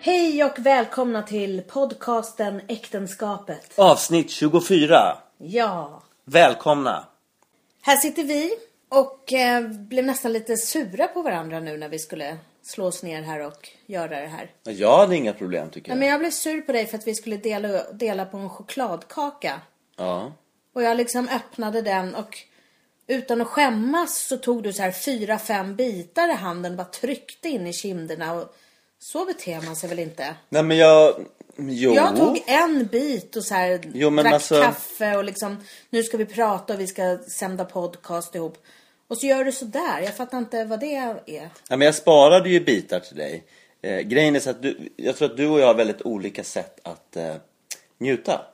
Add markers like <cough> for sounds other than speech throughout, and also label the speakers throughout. Speaker 1: Hej och välkomna till podcasten Äktenskapet.
Speaker 2: Avsnitt 24.
Speaker 1: Ja,
Speaker 2: Välkomna.
Speaker 1: här sitter vi och eh, blev nästan lite sura på varandra nu när vi skulle slå oss ner här och göra det här.
Speaker 2: Jag hade inga problem tycker
Speaker 1: Ja.
Speaker 2: jag.
Speaker 1: Men jag blev sur på dig för att vi skulle dela, dela på en chokladkaka.
Speaker 2: Ja.
Speaker 1: Och jag liksom öppnade den och utan att skämmas så tog du så här fyra, fem bitar i handen och bara tryckte in i kinderna. Och så beter man sig väl inte?
Speaker 2: Nej men jag... Jo.
Speaker 1: Jag tog en bit och så här
Speaker 2: Jo, men
Speaker 1: drack
Speaker 2: alltså-
Speaker 1: kaffe och liksom nu ska vi prata och vi ska sända podcast ihop. Och så gör du sådär. Jag fattar inte vad det är.
Speaker 2: Ja, men jag sparade ju bitar till dig. Eh, grejen är så att du, jag tror att du och jag har väldigt olika sätt att eh, njuta.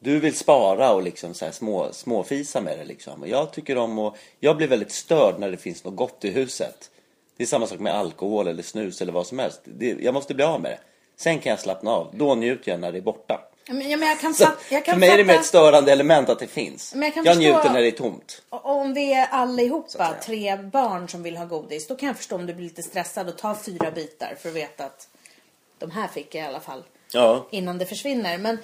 Speaker 2: Du vill spara och liksom så här små, småfisa med det liksom. Och jag tycker om att, jag blir väldigt störd när det finns något gott i huset. Det är samma sak med alkohol eller snus eller vad som helst. Det, jag måste bli av med det. Sen kan jag slappna av. Då njuter jag när det är borta.
Speaker 1: Ja, men, ja, men jag kan,
Speaker 2: <laughs> Så,
Speaker 1: fat, jag kan
Speaker 2: för mig är det mer
Speaker 1: fatta
Speaker 2: ett störande element att det finns.
Speaker 1: Men jag kan
Speaker 2: jag
Speaker 1: förstå-
Speaker 2: njuter när det är tomt.
Speaker 1: om vi är
Speaker 2: att
Speaker 1: allihopa
Speaker 2: säga.
Speaker 1: tre barn som vill ha godis. Då kan jag förstå om du blir lite stressad och tar fyra bitar för att veta att de här fick jag i alla fall.
Speaker 2: Ja.
Speaker 1: innan det försvinner. Men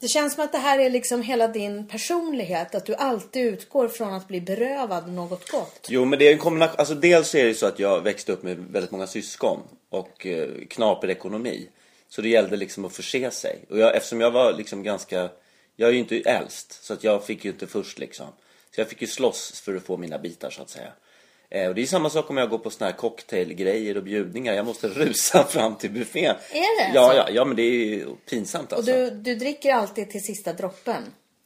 Speaker 1: det känns som att det här är liksom hela din personlighet. Att du alltid utgår från att bli berövad något gott.
Speaker 2: Jo, men det är en kombination. Alltså, dels är det ju så att jag växte upp med väldigt många syskon och eh, knaper ekonomi. Så det gällde liksom att förse sig. Och jag, eftersom jag var liksom ganska... Jag är ju inte äldst, så att jag fick ju inte först liksom. Så jag fick ju slåss för att få mina bitar så att säga. Eh, och det är samma sak om jag går på såna här cocktailgrejer och bjudningar. Jag måste rusa <laughs> fram till buffén.
Speaker 1: Är det
Speaker 2: Ja,
Speaker 1: så?
Speaker 2: ja, ja, men det är ju pinsamt
Speaker 1: Och
Speaker 2: alltså.
Speaker 1: du, du dricker alltid till sista droppen.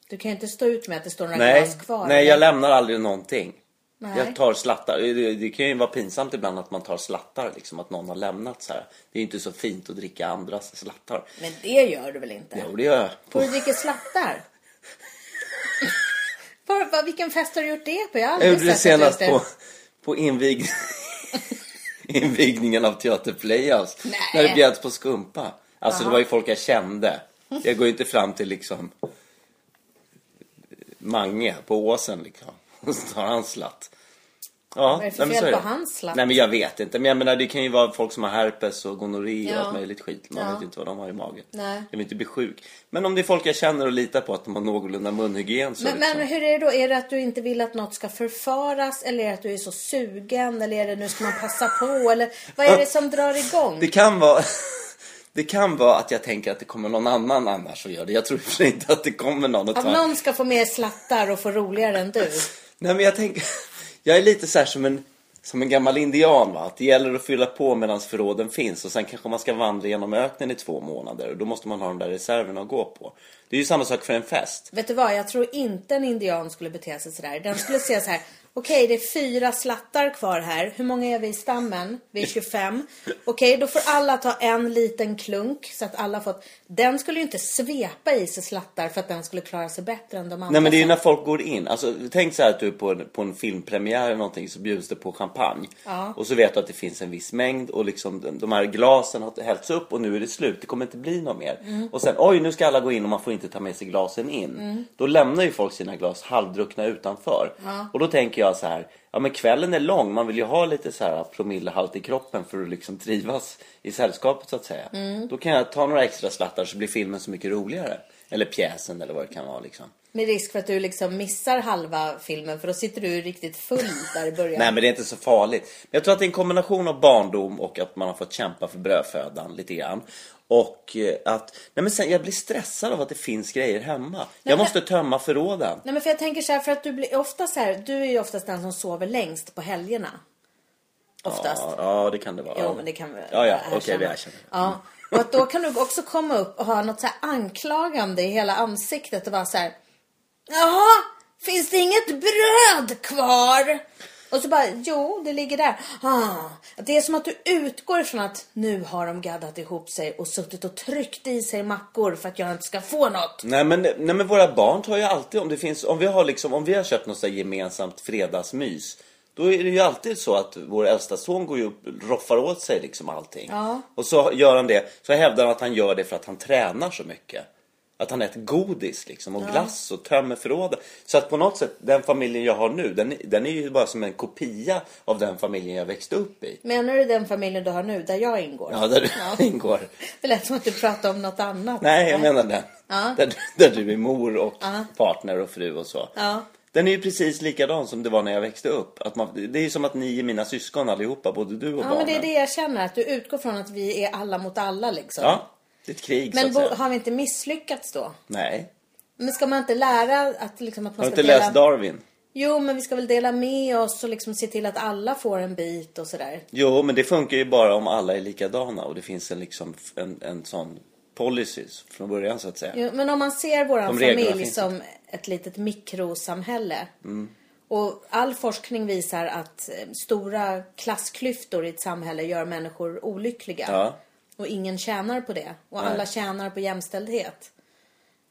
Speaker 1: Du kan ju inte stå ut med att det står några
Speaker 2: Nej,
Speaker 1: glas kvar.
Speaker 2: nej jag lämnar aldrig någonting.
Speaker 1: Nej.
Speaker 2: Jag tar slattar. Det, det kan ju vara pinsamt ibland att man tar slattar, liksom, att någon har lämnat så här. Det är ju inte så fint att dricka andras slattar.
Speaker 1: Men det gör du väl inte?
Speaker 2: Jo, det gör jag.
Speaker 1: Och
Speaker 2: På...
Speaker 1: du dricker slattar?
Speaker 2: <laughs>
Speaker 1: Var, var, vilken fest har du gjort det på? Jag har
Speaker 2: Jag
Speaker 1: aldrig
Speaker 2: gjorde det
Speaker 1: sett att du
Speaker 2: senast
Speaker 1: inte-
Speaker 2: på, på invig... <laughs> invigningen av Teater Playhouse.
Speaker 1: Nej.
Speaker 2: När det bjöds på skumpa. Alltså det var ju folk jag kände. Jag går ju inte fram till liksom Mange på Åsen liksom. <laughs> Och så tar han slatt. Ja,
Speaker 1: Vad är det för
Speaker 2: nej, men
Speaker 1: fel
Speaker 2: så är
Speaker 1: på hans slatt?
Speaker 2: Nej men jag vet inte. Men jag menar det kan ju vara folk som har herpes och gonorré
Speaker 1: Ja.
Speaker 2: och allt möjligt skit. Man
Speaker 1: Ja.
Speaker 2: vet ju inte vad de har i magen.
Speaker 1: Nej.
Speaker 2: Jag vill inte bli sjuk. Men om det är folk jag känner och litar på att de har någorlunda munhygien så
Speaker 1: Men,
Speaker 2: liksom.
Speaker 1: men hur är det då? Är det att du inte vill att något ska förfaras? Eller är det att du är så sugen? Eller är det nu ska man passa på? Eller vad är det som drar igång?
Speaker 2: Det kan vara... <laughs> Det kan vara att jag tänker att det kommer någon annan annars och gör det. Jag tror i och för sig inte att det kommer någon att
Speaker 1: Att
Speaker 2: ta...
Speaker 1: någon ska få mer slattar och få roligare än du.
Speaker 2: Nej men jag tänker... <laughs> Jag är lite så här som en, som en gammal indian va. Att det gäller att fylla på medan förråden finns. Och sen kanske man ska vandra genom öknen i två månader. Och då måste man ha de där reserverna att gå på. Det är ju samma sak för en fest.
Speaker 1: Vet du vad, jag tror inte en indian skulle bete sig sådär. Den skulle se så här. Okej, det är fyra slattar kvar här. Hur många är vi i stammen? Vi är 25. Okej, då får alla ta en liten klunk så att alla fått. Den skulle ju inte svepa i sig slattar för att den skulle klara sig bättre än de andra.
Speaker 2: Nej men det är ju
Speaker 1: sen.
Speaker 2: när folk går in. Alltså, tänk så här att du är på en, på en filmpremiär eller någonting så bjuds det på champagne.
Speaker 1: Ja.
Speaker 2: Och så vet du att det finns en viss mängd och liksom de, de här glasen har hällts upp och nu är det slut. Det kommer inte bli något mer. Och sen oj nu ska alla gå in och man får inte ta med sig glasen in. Då lämnar ju folk sina glas halvdruckna utanför. Och då tänker jag så här. Ja men kvällen är lång. Man vill ju ha lite så här promillehalt i kroppen för att liksom trivas i sällskapet så att säga. Då kan jag ta några extra slattar så blir filmen så mycket roligare. Eller pjäsen eller vad det kan vara liksom.
Speaker 1: Med risk för att du liksom missar halva filmen för då sitter du riktigt full där i början.
Speaker 2: Nej men det är inte så farligt. Men jag tror att det är en kombination av barndom och att man har fått kämpa för brödfödan lite grann. Och eh, att, nej men sen jag blir stressad av att det finns grejer hemma. jag måste tömma förråden.
Speaker 1: Nej men för jag tänker så här, för att du blir ofta så här, du är ju oftast den som sover längst på helgerna. Oftast.
Speaker 2: Ja, ja det kan det vara.
Speaker 1: Jo,
Speaker 2: Ja.
Speaker 1: men det kan vi
Speaker 2: Ja, ja,
Speaker 1: erkänna.
Speaker 2: okej vi erkänner. det.
Speaker 1: Ja. Och att då kan du också komma upp och ha något så här anklagande i hela ansiktet och vara så här. Jaha, finns det inget bröd kvar? Och så bara, jo, det ligger där. Ah, det är som att du utgår ifrån att nu har de gaddat ihop sig och suttit och tryckt i sig mackor för att jag inte ska få något.
Speaker 2: Nej men, nej men våra barn tar ju alltid, om det finns, om vi har liksom, om vi har köpt något så här gemensamt fredagsmys. Då är det ju alltid så att vår äldsta son går ju upp, roffar åt sig liksom allting.
Speaker 1: Ja.
Speaker 2: Och så gör han det, så hävdar han att han gör det för att han tränar så mycket. Att han äter godis liksom och glass och tömmer förråden. Så att på något sätt, den familjen jag har nu, den, den är ju bara som en kopia av den familjen jag växte upp i.
Speaker 1: Menar du den familjen du har nu, där jag ingår?
Speaker 2: Ja, där du <laughs> ingår.
Speaker 1: Det lät som att du pratade om något annat.
Speaker 2: Nej, jag menar den.
Speaker 1: Ja.
Speaker 2: Där, du- där du är mor och partner och fru och så.
Speaker 1: Ja.
Speaker 2: Den är ju precis likadan som det var när jag växte upp. Att man, det är ju som att ni är mina syskon allihopa, både du och
Speaker 1: Ja,
Speaker 2: barnen.
Speaker 1: men det är det jag känner. Att du utgår från att vi är alla mot alla liksom.
Speaker 2: Ja, det är ett krig
Speaker 1: men
Speaker 2: så att
Speaker 1: bo,
Speaker 2: säga.
Speaker 1: har vi inte misslyckats då?
Speaker 2: Nej.
Speaker 1: Men ska man inte lära att, liksom, att man
Speaker 2: Har du
Speaker 1: ska
Speaker 2: inte
Speaker 1: dela...
Speaker 2: läst Darwin?
Speaker 1: Jo, men vi ska väl dela med oss och liksom se till att alla får en bit och sådär.
Speaker 2: Jo, men det funkar ju bara om alla är likadana och det finns en, liksom, en, en sån policy från början så att säga.
Speaker 1: Jo, men om man ser vår
Speaker 2: De reglerna
Speaker 1: familj
Speaker 2: finns Mm.
Speaker 1: som ett litet mikrosamhälle. Och all forskning visar att eh, stora klassklyftor i ett samhälle gör människor olyckliga.
Speaker 2: Ja.
Speaker 1: Och ingen tjänar på det. Och
Speaker 2: Nej.
Speaker 1: alla tjänar på jämställdhet.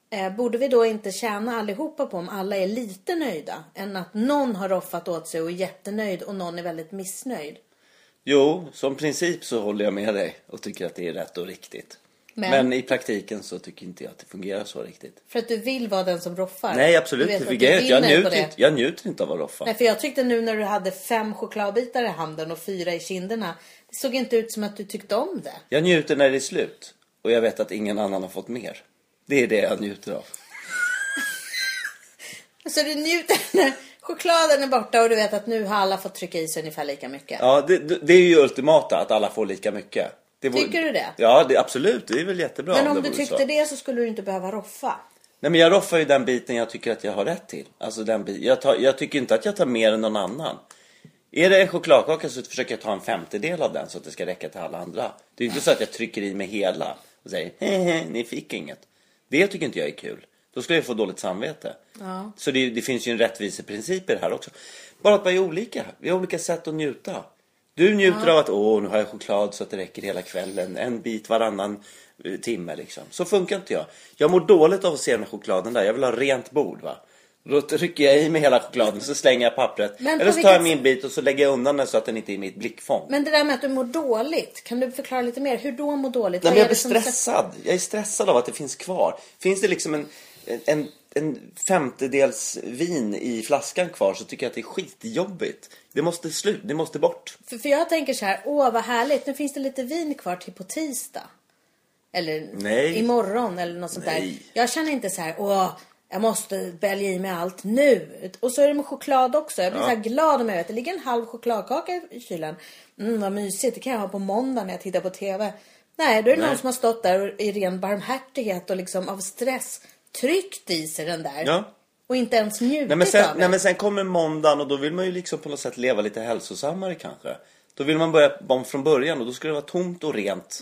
Speaker 1: Eh, borde vi då inte tjäna allihopa på om alla är lite nöjda? Än att någon har roffat åt sig och är jättenöjd och någon är väldigt missnöjd.
Speaker 2: Jo, som princip så håller jag med dig och tycker att det är rätt och riktigt.
Speaker 1: Men?
Speaker 2: Men, i praktiken så tycker inte jag att det fungerar så riktigt.
Speaker 1: För att du vill vara den som roffar.
Speaker 2: Nej, absolut
Speaker 1: Du vet
Speaker 2: inte.
Speaker 1: att
Speaker 2: För
Speaker 1: du
Speaker 2: grejen är att jag,
Speaker 1: vinner på
Speaker 2: njuter
Speaker 1: det.
Speaker 2: inte, jag njuter inte av att roffa.
Speaker 1: Nej, för jag tyckte nu när du hade fem chokladbitar i handen och fyra i kinderna. Det såg inte ut som att du tyckte om det.
Speaker 2: Jag njuter när det är slut och jag vet att ingen annan har fått mer. Det är det jag njuter av.
Speaker 1: Så du njuter <laughs> när chokladen är borta och du vet att nu har alla fått trycka i sig ungefär lika mycket.
Speaker 2: Ja, det, det- det är ju ultimata, att alla får lika mycket. Det vore-
Speaker 1: Tycker du det?
Speaker 2: Ja, det, absolut. Det är väl jättebra
Speaker 1: Men om,
Speaker 2: det
Speaker 1: du
Speaker 2: vore
Speaker 1: tyckte
Speaker 2: så.
Speaker 1: det så skulle du inte behöva roffa.
Speaker 2: Nej, men jag roffar ju den biten jag tycker att jag har rätt till. Alltså den bit, jag, tar, jag tycker inte att jag tar mer än någon annan. Är det en chokladkaka så försöker jag ta en femtedel av den så att det ska räcka till alla andra. Det är ju inte så att jag trycker i mig hela och säger hehe, ni fick inget. Det tycker inte jag är kul. Då skulle jag få dåligt samvete.
Speaker 1: Ja.
Speaker 2: Så det, det finns ju en rättviseprincip i det här också. Bara att man är olika. Vi har olika sätt att njuta. Du njuter av att åh, nu har jag choklad så att det räcker hela kvällen. En bit varannan eh, timme liksom. Så funkar inte jag. Jag mår dåligt av att se den här chokladen där. Jag vill ha rent bord va. Då trycker jag i mig hela chokladen så slänger jag pappret.
Speaker 1: Men på
Speaker 2: Eller så tar jag
Speaker 1: vilket-
Speaker 2: min bit och så lägger jag undan den så att den inte är i mitt blickfång.
Speaker 1: Men det där med att du mår dåligt, kan du förklara lite mer? Hur då mår dåligt?
Speaker 2: Nej,
Speaker 1: Vad
Speaker 2: men jag
Speaker 1: är
Speaker 2: blir
Speaker 1: det som-
Speaker 2: stressad. Jag är stressad av att det finns kvar. Finns det liksom en, en, en femtedels vin i flaskan kvar så tycker jag att det är skitjobbigt. Det måste slut, det måste bort.
Speaker 1: För, för jag tänker så här, åh vad härligt, nu finns det lite vin kvar till på tisdag. Eller
Speaker 2: Nej.
Speaker 1: imorgon eller något sånt
Speaker 2: Nej.
Speaker 1: där. Jag känner inte så här, åh, jag måste bälja i mig allt nu. Och så är det med choklad också. Jag blir så här glad om jag vet, det ligger en halv chokladkaka i kylen. Mm, vad mysigt, det kan jag ha på måndag när jag tittar på TV. Nej, då är det någon som har stått där och i ren barmhärtighet och liksom av stress tryckt i sig den där.
Speaker 2: Ja.
Speaker 1: Och inte ens njutit
Speaker 2: Nej men,
Speaker 1: av
Speaker 2: sen, nej
Speaker 1: den.
Speaker 2: men sen kommer måndagen och då vill man ju liksom på något sätt leva lite hälsosammare kanske. Då vill man börja om från början och då ska det vara tomt och rent.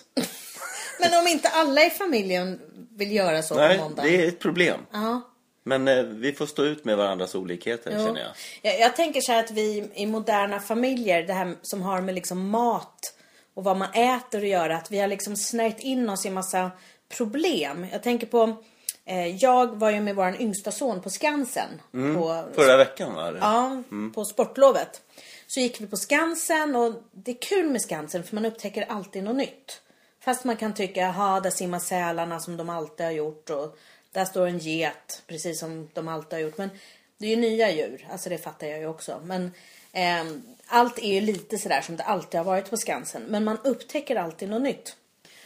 Speaker 1: Men om inte alla i familjen vill göra så
Speaker 2: Nej,
Speaker 1: på måndag.
Speaker 2: det är ett problem.
Speaker 1: Ja.
Speaker 2: Men eh, vi får stå ut med varandras olikheter
Speaker 1: Jo.
Speaker 2: känner jag.
Speaker 1: Jag, tänker så här att vi i moderna familjer, det här som har med liksom mat och vad man äter att göra, att vi har liksom snärjt in oss i massa problem. Jag tänker på, eh, jag var ju med vår yngsta son på Skansen. På,
Speaker 2: Förra veckan var det.
Speaker 1: ja, på sportlovet. Så gick vi på Skansen och det är kul med Skansen för man upptäcker alltid något nytt. Fast man kan tycka, jaha, där simmar sälarna som de alltid har gjort och där står en get precis som de alltid har gjort. Men det är ju nya djur, alltså det fattar jag ju också. Men ehm, allt är ju lite sådär som det alltid har varit på Skansen. Men man upptäcker alltid något nytt.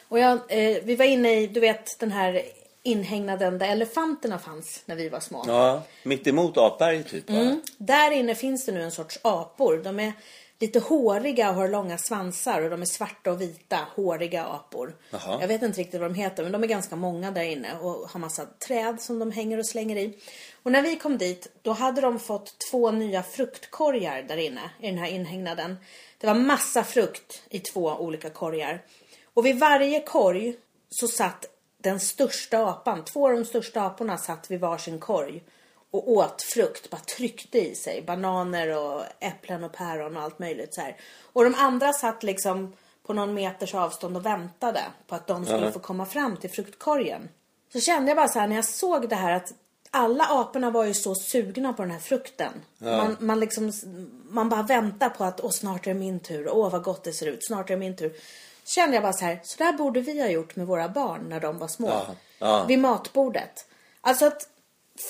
Speaker 1: Och jag, eh, vi var inne i, du vet den här inhägnaden där elefanterna fanns när vi var små.
Speaker 2: ja mitt emot Apberg typ
Speaker 1: Mm.
Speaker 2: va?
Speaker 1: Där inne finns det nu en sorts apor. De är lite håriga och har långa svansar och de är svarta och vita, håriga apor.
Speaker 2: Jaha.
Speaker 1: Jag vet inte riktigt vad de heter men de är ganska många där inne och har massa träd som de hänger och slänger i. Och när vi kom dit då hade de fått två nya fruktkorgar där inne i den här inhägnaden. Det var massa frukt i två olika korgar. Och vid varje korg så satt den största apan, två av de största aporna satt vid varsin korg och åt frukt, bara tryckte i sig bananer och äpplen och päron och allt möjligt så här. Och de andra satt liksom på någon meters avstånd och väntade på att de skulle få komma fram till fruktkorgen. Så kände jag bara så här när jag såg det här att alla aporna var ju så sugna på den här frukten. Man, man, liksom, man bara väntar på att åh, snart är det min tur. Åh, vad gott det ser ut. Snart är det min tur. kände jag bara så här, så där borde vi ha gjort med våra barn när de var små.
Speaker 2: Ja, ja.
Speaker 1: Vid matbordet. Alltså att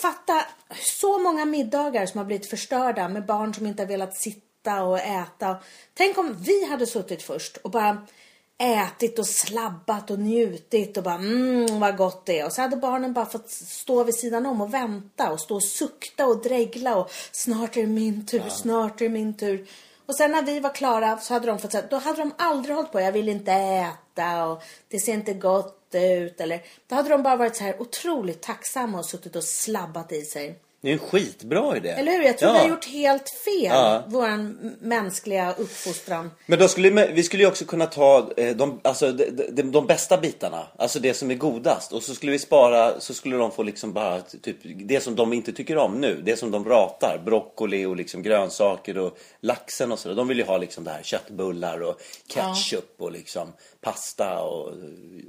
Speaker 1: fatta så många middagar som har blivit förstörda med barn som inte har velat sitta och äta. Tänk om vi hade suttit först och bara ätit och slabbat och njutit och bara mm vad gott det är. Och så hade barnen bara fått stå vid sidan om och vänta och stå och sukta och dregla och snart är det min tur, snart är det min tur. Och sen när vi var klara så hade de fått säga, då hade de aldrig hållit på, jag vill inte äta och det ser inte gott ut eller då hade de bara varit så här otroligt tacksamma och suttit och slabbat i sig.
Speaker 2: Det är en skitbra idé.
Speaker 1: Eller hur? Jag tror
Speaker 2: ja.
Speaker 1: vi har gjort helt fel,
Speaker 2: Ja.
Speaker 1: våran mänskliga uppfostran.
Speaker 2: Men då skulle, vi skulle ju också kunna ta eh, de, alltså, de, de, de bästa bitarna, alltså det som är godast. Och så skulle vi spara, så skulle de få liksom bara typ, det som de inte tycker om nu, det som de ratar. Broccoli och liksom grönsaker och laxen och sådär. De vill ju ha liksom det här köttbullar och ketchup och liksom pasta och,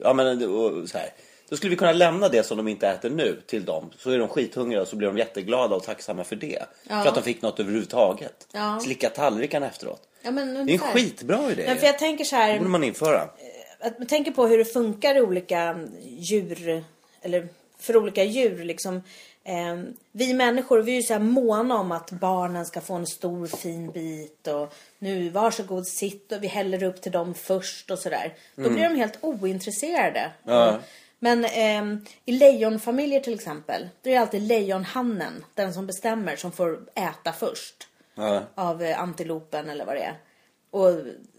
Speaker 2: ja, men, och så här. Då skulle vi kunna lämna det som de inte äter nu till dem. Så är de skithungriga och så blir de jätteglada och tacksamma för det. För att de fick något överhuvudtaget.
Speaker 1: Ja.
Speaker 2: Slicka tallrikarna efteråt.
Speaker 1: Ja, men
Speaker 2: Det är en
Speaker 1: ungefär.
Speaker 2: skitbra idé.
Speaker 1: Men för jag tänker så
Speaker 2: Det borde
Speaker 1: här,
Speaker 2: man införa.
Speaker 1: att man tänker på hur det funkar i olika djur, eller för olika djur liksom. Eh, vi människor, vi är ju så här måna om att barnen ska få en stor fin bit och nu varsågod sitt och vi häller upp till dem först och sådär. Då blir de helt ointresserade.
Speaker 2: Ja.
Speaker 1: Men ehm, i lejonfamiljer till exempel, då är det alltid lejonhannen, den som bestämmer, som får äta först
Speaker 2: Ja.
Speaker 1: av eh, antilopen eller vad det är. Och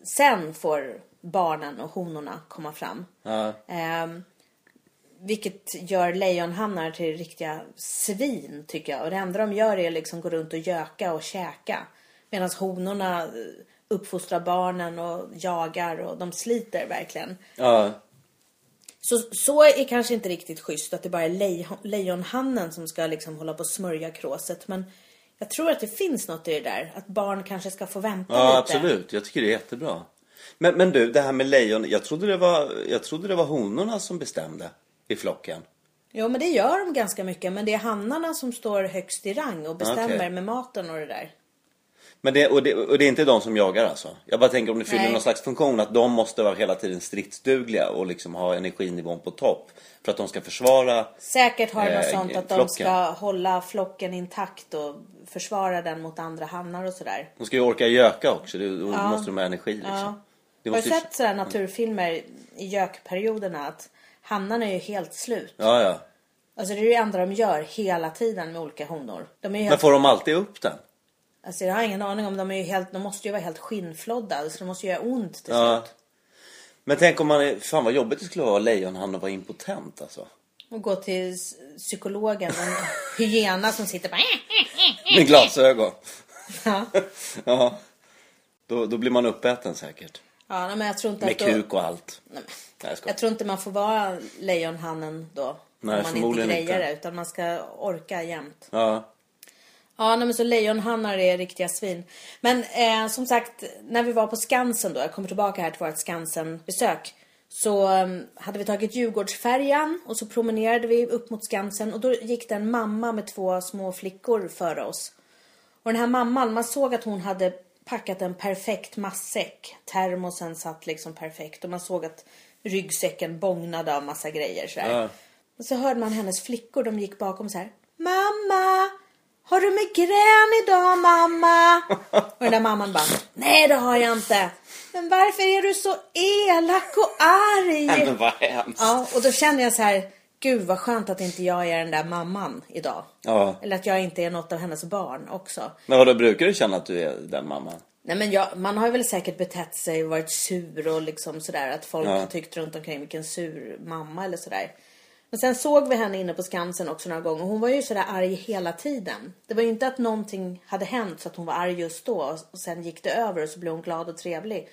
Speaker 1: sen får barnen och honorna komma fram.
Speaker 2: Ja.
Speaker 1: Ehm, vilket gör lejonhannar till riktiga svin tycker jag. Och det enda de gör är liksom gå runt och göka och käka. Medan honorna eh, uppfostrar barnen och jagar och de sliter verkligen.
Speaker 2: Ja.
Speaker 1: Så, så är kanske inte riktigt schysst att det bara är lejon, lejonhannen som ska liksom hålla på och smörja kråset. Men jag tror att det finns något i det där. Att barn kanske ska få vänta
Speaker 2: ja,
Speaker 1: lite.
Speaker 2: absolut. Jag tycker det är jättebra. Men, men du, det här med lejon. Jag trodde, det var, jag trodde det var honorna som bestämde i flocken.
Speaker 1: Jo, men det gör de ganska mycket. Men det är hannarna som står högst i rang och bestämmer
Speaker 2: Okej.
Speaker 1: med maten och det där.
Speaker 2: Men det, och, det, och det är inte de som jagar alltså? Jag bara tänker om det fyller
Speaker 1: Nej.
Speaker 2: någon slags funktion att de måste vara hela tiden stridsdugliga och liksom ha energinivån på topp. För att de ska försvara.
Speaker 1: Säkert har det något
Speaker 2: Eh,
Speaker 1: sånt att de
Speaker 2: flocken.
Speaker 1: ska hålla flocken intakt och försvara den mot andra hannar och sådär.
Speaker 2: De ska ju orka göka också. Det- Då måste de ha energi liksom.
Speaker 1: Ja.
Speaker 2: Det
Speaker 1: Har du
Speaker 2: måste ju-
Speaker 1: sett sådana naturfilmer i gökperioderna? Att hannarna är ju helt slut.
Speaker 2: Ja, ja.
Speaker 1: Alltså det är det enda de gör hela tiden med olika honor. De är ju
Speaker 2: Men
Speaker 1: helt,
Speaker 2: får de alltid upp den?
Speaker 1: alltså jag har ingen aning om de är ju helt, de måste ju vara helt skinnflodda. Så det måste ju göra ont typ. till
Speaker 2: Ja.
Speaker 1: slut.
Speaker 2: Men tänk om man är... Fan vad jobbigt det skulle vara att lejonhanne var impotent alltså.
Speaker 1: Och gå till s- psykologen, en
Speaker 2: <laughs>
Speaker 1: hyena som sitter bara...
Speaker 2: Med glasögon.
Speaker 1: Ja,
Speaker 2: ja. Då, då blir man uppäten säkert.
Speaker 1: ja nej, men jag tror inte
Speaker 2: Med
Speaker 1: att då,
Speaker 2: kuk och allt. Nej,
Speaker 1: Nej, men-
Speaker 2: jag skojar.
Speaker 1: Jag tror inte man får vara lejonhannen då.
Speaker 2: Nej,
Speaker 1: om man inte
Speaker 2: förmodligen
Speaker 1: grejer
Speaker 2: inte.
Speaker 1: det, utan man ska orka jämt. <laughs>
Speaker 2: Ja.
Speaker 1: Ja, nej, men så lejonhannar är riktiga svin. Men eh, som sagt, när vi var på Skansen då, jag kommer tillbaka här till vårt Skansen-besök. Så eh, hade vi tagit Djurgårdsfärjan och så promenerade vi upp mot Skansen och då gick det en mamma med två små flickor före oss. Och den här mamman, man såg att hon hade packat en perfekt matsäck. Termosen satt liksom perfekt och man såg att ryggsäcken bågnade av massa grejer sådär.
Speaker 2: Ja.
Speaker 1: Och så hörde man hennes flickor, de gick bakom så här. Mamma! Har du migrän idag mamma? Och den där mamman bara, nej det har jag inte. Men varför är du så elak och
Speaker 2: Nej,
Speaker 1: arg?
Speaker 2: men vad hemskt.
Speaker 1: Ja, och då kände jag så här, gud vad skönt att inte jag är den där mamman idag.
Speaker 2: Ja.
Speaker 1: Eller att jag inte är något av hennes barn också.
Speaker 2: Men vadå, brukar du känna att du är den mamman?
Speaker 1: Nej men jag, man har väl säkert betett sig och varit sur och liksom sådär att folk
Speaker 2: Ja.
Speaker 1: har tyckt runt omkring vilken sur mamma eller sådär. Men sen såg vi henne inne på Skansen också några gånger och hon var ju sådär arg hela tiden. Det var ju inte att någonting hade hänt så att hon var arg just då och sen gick det över och så blev hon glad och trevlig.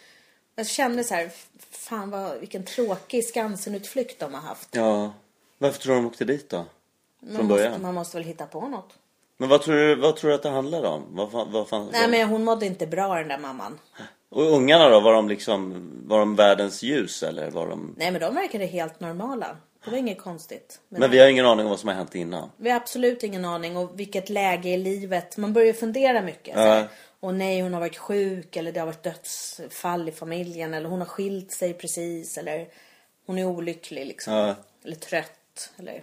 Speaker 1: Jag kände så här, fan vad, vilken tråkig Skansen-utflykt de har haft.
Speaker 2: Ja. Varför tror du de åkte dit då? Från
Speaker 1: Man måste,
Speaker 2: början?
Speaker 1: man måste väl hitta på något.
Speaker 2: Men vad tror, du, vad tror du att det handlar om? Vad, fan- vad fan...
Speaker 1: Nej men hon mådde inte bra den där mamman.
Speaker 2: Och ungarna då? Var de liksom... Var de världens ljus eller var de...
Speaker 1: Nej men de verkade helt normala. Det var inget konstigt. med
Speaker 2: Men vi har ingen aning om vad som har hänt innan.
Speaker 1: Vi har absolut ingen aning om vilket läge i livet. Man börjar ju fundera mycket. Så här. Och nej, hon har varit sjuk eller det har varit dödsfall i familjen eller hon har skilt sig precis eller hon är olycklig liksom.
Speaker 2: Ja.
Speaker 1: Eller trött eller...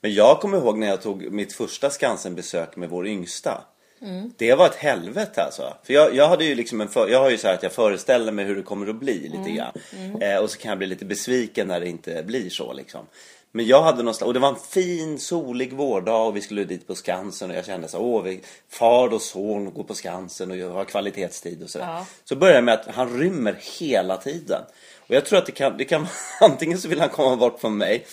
Speaker 2: Men jag kommer ihåg när jag tog mitt första Skansen-besök med vår yngsta. Det var ett helvete alltså. För jag, jag, hade ju liksom en för, jag har ju så här att jag föreställer mig hur det kommer att bli lite grann. Eh, och så kan jag bli lite besviken när det inte blir så liksom. Men jag hade någonstans, och det var en fin solig vårdag och vi skulle dit på Skansen och jag kände så här, åh, vi, far och son går på Skansen och jag har kvalitetstid och sådär.
Speaker 1: Ja.
Speaker 2: Så börjar det med att han rymmer hela tiden. Och jag tror att det kan, det kan <laughs> antingen så vill han komma bort från mig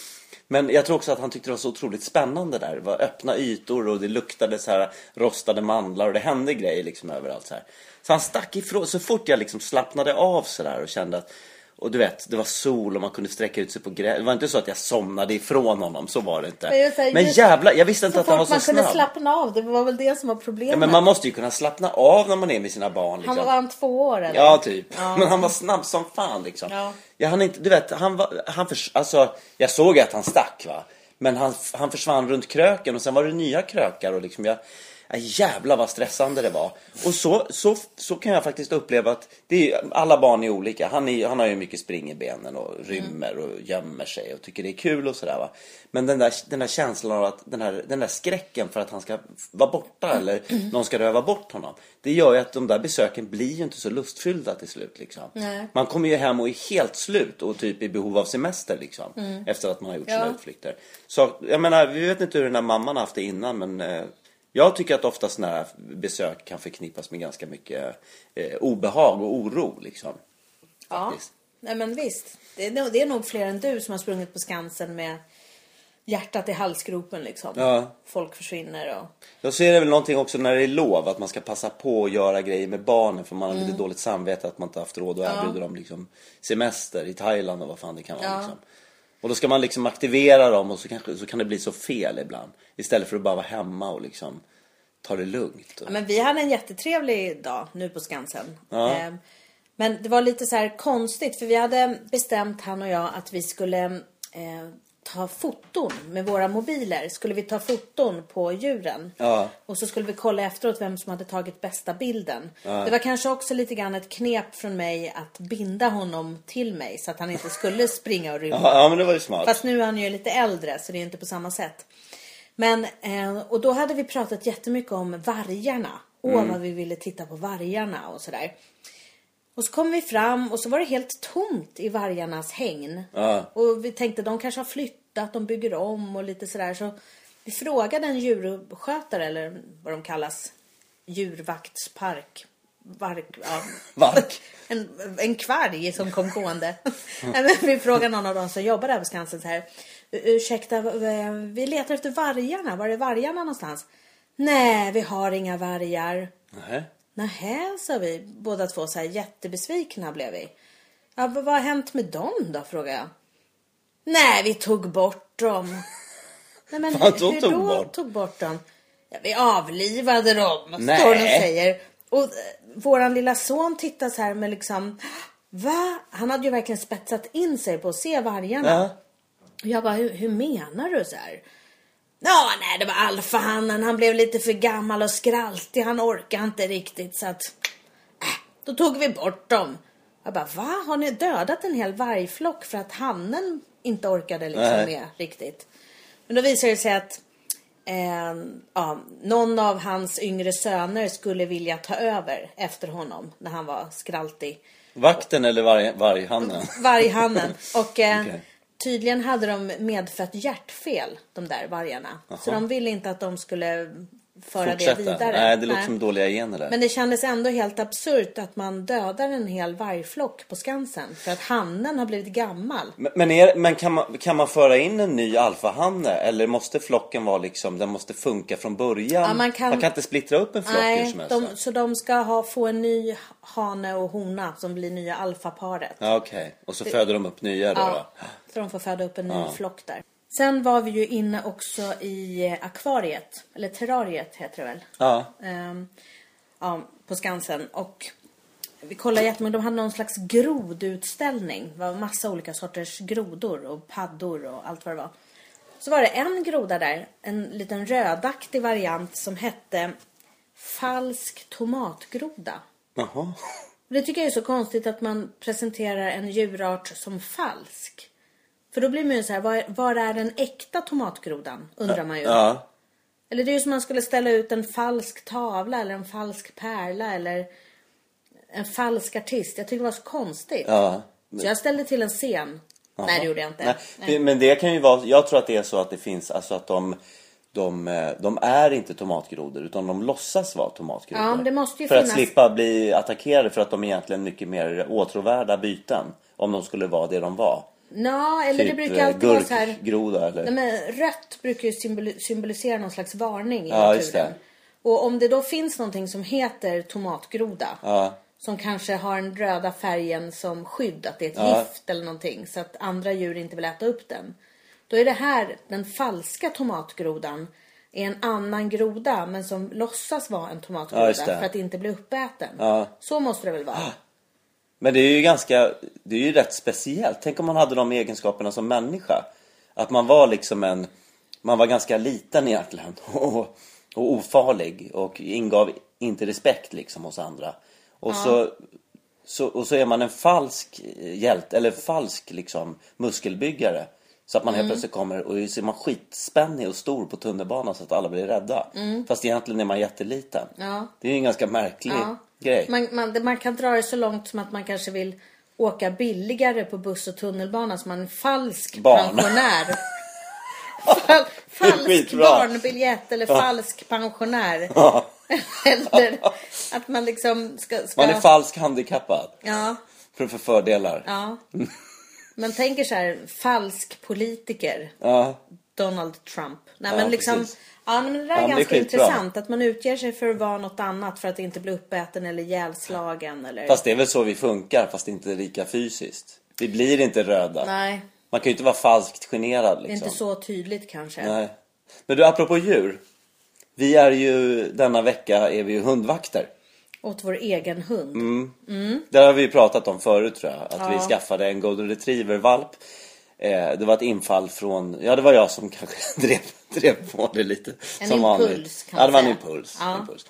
Speaker 2: men jag tror också att han tyckte det var så otroligt spännande där. Det var öppna ytor och det luktade så här rostade mandlar och det hände grejer liksom överallt så här. Så han stack ifrån. Så fort jag liksom slappnade av så där och kände att och du vet, det var sol och man kunde sträcka ut sig på gräs. Det var inte så att jag somnade ifrån honom, så var det inte.
Speaker 1: Men just det här,
Speaker 2: Men
Speaker 1: just-
Speaker 2: jävlar, jag visste inte
Speaker 1: Så
Speaker 2: att han var
Speaker 1: fort
Speaker 2: så
Speaker 1: man kunde
Speaker 2: snabb.
Speaker 1: slappna av, det var väl det som var problemet.
Speaker 2: Ja, men man måste ju kunna slappna av när man är med sina barn.
Speaker 1: Han
Speaker 2: Liksom.
Speaker 1: var han två år eller?
Speaker 2: Ja, typ. Men han var snabb som fan liksom.
Speaker 1: Ja.
Speaker 2: Jag hann inte, du vet, han var, han förs- alltså, jag såg att han stack va. Men han, han försvann runt kröken och sen var det nya krökar och liksom jag, ja, jävlar vad stressande det var. Och så, så, så kan jag faktiskt uppleva att det är, ju- alla barn är olika. Han, är, han har ju mycket spring i benen och rymmer
Speaker 1: Mm.
Speaker 2: och gömmer sig och tycker det är kul och sådär va. Men den där, den där känslan av att den här, den där skräcken för att han ska vara borta eller
Speaker 1: Mm.
Speaker 2: någon ska röva bort honom. Det gör ju att de där besöken blir ju inte så lustfyllda till slut liksom.
Speaker 1: Nej.
Speaker 2: Man kommer ju hem och är helt slut och typ i behov av semester liksom. Efter att man har gjort sina
Speaker 1: Mm. Ja.
Speaker 2: utflykter. Så jag menar, vi vet inte hur den där mamman har haft det innan men eh, jag tycker att ofta sådana här besök kan förknippas med ganska mycket eh, obehag och oro liksom.
Speaker 1: Ja.
Speaker 2: Faktiskt.
Speaker 1: Nej men visst. Det är, nog- det är nog fler än du som har sprungit på Skansen med hjärtat i halsgropen liksom.
Speaker 2: Ja.
Speaker 1: Folk försvinner och...
Speaker 2: Jag ser det väl någonting också när det är lov att man ska passa på att göra grejer med barnen för man har
Speaker 1: Mm.
Speaker 2: lite dåligt samvete att man inte haft råd att erbjuda dem liksom semester i Thailand och vad fan det kan vara.
Speaker 1: Ja.
Speaker 2: Liksom. Och då ska man liksom aktivera dem och så, kanske, så kan det bli så fel ibland. Istället för att bara vara hemma och liksom ta det lugnt. Och...
Speaker 1: Ja, men vi hade en jättetrevlig dag nu på Skansen.
Speaker 2: Ja.
Speaker 1: Ehm, Men det var lite så här konstigt för vi hade bestämt han och jag att vi skulle eh, ta foton med våra mobiler. Skulle vi ta foton på djuren.
Speaker 2: Ja.
Speaker 1: Och så skulle vi kolla efteråt vem som hade tagit bästa bilden. Det var kanske också lite grann ett knep från mig att binda honom till mig så att han inte skulle springa och rymma.
Speaker 2: Ja, ja men det var ju smart.
Speaker 1: Fast nu är han ju lite äldre så det är inte på samma sätt. Men, eh, och då hade vi pratat jättemycket om vargarna. Åh
Speaker 2: Mm.
Speaker 1: vad vi ville titta på vargarna och sådär. Och så kom vi fram och så var det helt tomt i vargarnas hägn.
Speaker 2: Ja.
Speaker 1: Och vi tänkte de kanske har flyttat, de bygger om och lite sådär. Så vi frågade en djurskötare eller vad de kallas. Djurvaktspark. Vark, ja.
Speaker 2: Vark.
Speaker 1: <laughs> En, en kvarg som kom gående. Nej, men <laughs> vi frågade någon av dem som jobbar där på Skansen så här. "U- Ursäkta, v- vi letar efter vargarna. Var är vargarna någonstans? Nej, vi har inga vargar.
Speaker 2: Nähä.
Speaker 1: Nähä, sa vi båda två så här jättebesvikna blev vi. Ja, v- vad har hänt med dem då, frågade jag. Nej, vi tog bort
Speaker 2: <laughs>
Speaker 1: dem. Nej, men
Speaker 2: Vadå
Speaker 1: hur, hur
Speaker 2: tog
Speaker 1: då
Speaker 2: bort?
Speaker 1: tog bort dem? Ja, vi avlivade dem,
Speaker 2: Nej.
Speaker 1: står hon och säger. Och eh, våran lilla son tittar så här med liksom, <gasps> va? Han hade ju verkligen spetsat in sig på att se vargarna.
Speaker 2: Ja.
Speaker 1: Och jag bara, hur, hur menar du så här? Ja, nej, det var alfahannen. Han blev lite för gammal och skraltig. Han orkade inte riktigt så att... Äh, då tog vi bort dem. Jag bara, va? Har ni dödat en hel vargflock för att hannen inte orkade liksom
Speaker 2: Nej.
Speaker 1: med riktigt? Men då visade det sig att eh, ja, någon av hans yngre söner skulle vilja ta över efter honom när han var skraltig
Speaker 2: Vakten eller varg, varghannen?
Speaker 1: varghannen. Och eh,
Speaker 2: Okej.
Speaker 1: tydligen hade de medfött hjärtfel, de där vargarna. Så de ville inte att de skulle föra det
Speaker 2: Fortsätta.
Speaker 1: vidare.
Speaker 2: Nej, det låter
Speaker 1: Nej.
Speaker 2: som dåliga gener där.
Speaker 1: Men det kändes ändå helt absurt att man dödar en hel vargflock på Skansen för att hannen har blivit gammal.
Speaker 2: Men- Men, är, men kan, man, kan man föra in en ny alfahanne eller måste flocken vara liksom, den måste funka från början?
Speaker 1: Ja, man kan-
Speaker 2: inte splittra upp en flock hur
Speaker 1: Nej,
Speaker 2: som helst.
Speaker 1: de, så de ska ha, få en ny hane och hona som blir nya alfaparet.
Speaker 2: Ja, okej. Och så föder de upp nya då?
Speaker 1: Ja,
Speaker 2: va?
Speaker 1: så de får föda upp en ny flock där. Sen var vi ju inne också i eh, akvariet, eller terrariet heter det väl?
Speaker 2: Ja.
Speaker 1: Ehm, ja, på Skansen. Och vi kollade jättemycket. De hade någon slags grodutställning. Det var massa olika sorters grodor och paddor och allt vad det var. Så var det en groda där, en liten rödaktig variant som hette falsk tomatgroda.
Speaker 2: Jaha.
Speaker 1: Och Det tycker jag är så konstigt att man presenterar en djurart som falsk. För då blir man ju så här, var, var är den äkta tomatgrodan? Undrar man ju.
Speaker 2: Ja.
Speaker 1: Eller det är ju som man skulle ställa ut en falsk tavla eller en falsk pärla eller en falsk artist. Jag tycker det var så konstigt.
Speaker 2: Ja.
Speaker 1: Så jag ställde till en scen. Nej, det gjorde jag inte.
Speaker 2: Nej,
Speaker 1: Nej.
Speaker 2: det- Men det kan ju vara, jag tror att det är så att det finns, alltså att de, de, eh, de är inte tomatgrodor utan de låtsas vara tomatgrodor.
Speaker 1: Ja, men det måste ju
Speaker 2: för
Speaker 1: finnas-
Speaker 2: att slippa bli attackerade för att de är egentligen mycket mer åtråvärda byten. Om de skulle vara det de var.
Speaker 1: Nå, eller det brukar
Speaker 2: eh,
Speaker 1: alltid vara så här.
Speaker 2: gurkgroda eller?
Speaker 1: Nej, men rött brukar ju symboli- symbolisera någon slags varning i
Speaker 2: Ja, just
Speaker 1: naturen.
Speaker 2: det.
Speaker 1: Och om det då finns någonting som heter tomatgroda.
Speaker 2: Ja.
Speaker 1: Som kanske har den röda färgen som skydd, att det är ett
Speaker 2: Ja.
Speaker 1: gift eller någonting. Så att andra djur inte vill äta upp den. Då är det här, den falska tomatgrodan, är en annan groda men som låtsas vara en
Speaker 2: Ja,
Speaker 1: tomatgroda
Speaker 2: just det.
Speaker 1: för att inte bli uppäten.
Speaker 2: Ja. Ah.
Speaker 1: Så måste det väl vara?
Speaker 2: Men det är ju ganska, det är ju rätt speciellt. Tänk om man hade de egenskaperna som människa. Att man var liksom en, man var ganska liten egentligen <laughs> och, och ofarlig och ingav inte respekt liksom hos andra. Och, så, så, och så är man en falsk hjälte, eller falsk liksom muskelbyggare. Så att man
Speaker 1: Mm.
Speaker 2: helt plötsligt kommer och så är man skitspännig och stor på tunnelbanan så att alla blir rädda. Fast egentligen är man jätteliten.
Speaker 1: Mm. Ja.
Speaker 2: Det är ju en ganska märklig grej.
Speaker 1: Man, man, man kan dra det så långt som att man kanske vill åka billigare på buss och tunnelbana så man är en falsk
Speaker 2: Barn. <laughs>
Speaker 1: pensionär. Fal, falsk
Speaker 2: Skitbra.
Speaker 1: barnbiljett eller falsk pensionär.
Speaker 2: <laughs>
Speaker 1: <laughs>
Speaker 2: Ja.
Speaker 1: eller att man liksom ska... ska
Speaker 2: Man är falsk handikappad.
Speaker 1: ja,
Speaker 2: För att få fördelar.
Speaker 1: ja. Man tänker så här, falsk politiker.
Speaker 2: Ja.
Speaker 1: Donald Trump. Nej,
Speaker 2: Ja,
Speaker 1: men liksom,
Speaker 2: precis.
Speaker 1: ja, men det där är
Speaker 2: Ja, men det är
Speaker 1: ganska
Speaker 2: skitbra.
Speaker 1: intressant. Att man utger sig för att vara något annat för att inte bli uppäten eller ihjälslagen. Eller...
Speaker 2: Fast det är väl så vi funkar, fast inte lika fysiskt. Vi blir inte röda.
Speaker 1: Nej,
Speaker 2: Man kan ju inte vara falskt generad
Speaker 1: det är
Speaker 2: liksom.
Speaker 1: inte så tydligt kanske.
Speaker 2: Nej. Men du, apropå djur. Vi är ju, denna vecka är vi ju hundvakter.
Speaker 1: Åt vår egen hund.
Speaker 2: Mm. Det har vi ju pratat om förut tror jag. Att vi
Speaker 1: Ja.
Speaker 2: skaffade en golden retriever-valp. Eh, det var ett infall från, ja det var jag som <laughs> kanske drev, drev på det lite.
Speaker 1: En
Speaker 2: som
Speaker 1: impuls,
Speaker 2: vanligt.
Speaker 1: kan man
Speaker 2: Ja, det var en
Speaker 1: säga.
Speaker 2: impuls.
Speaker 1: Ja.
Speaker 2: impuls.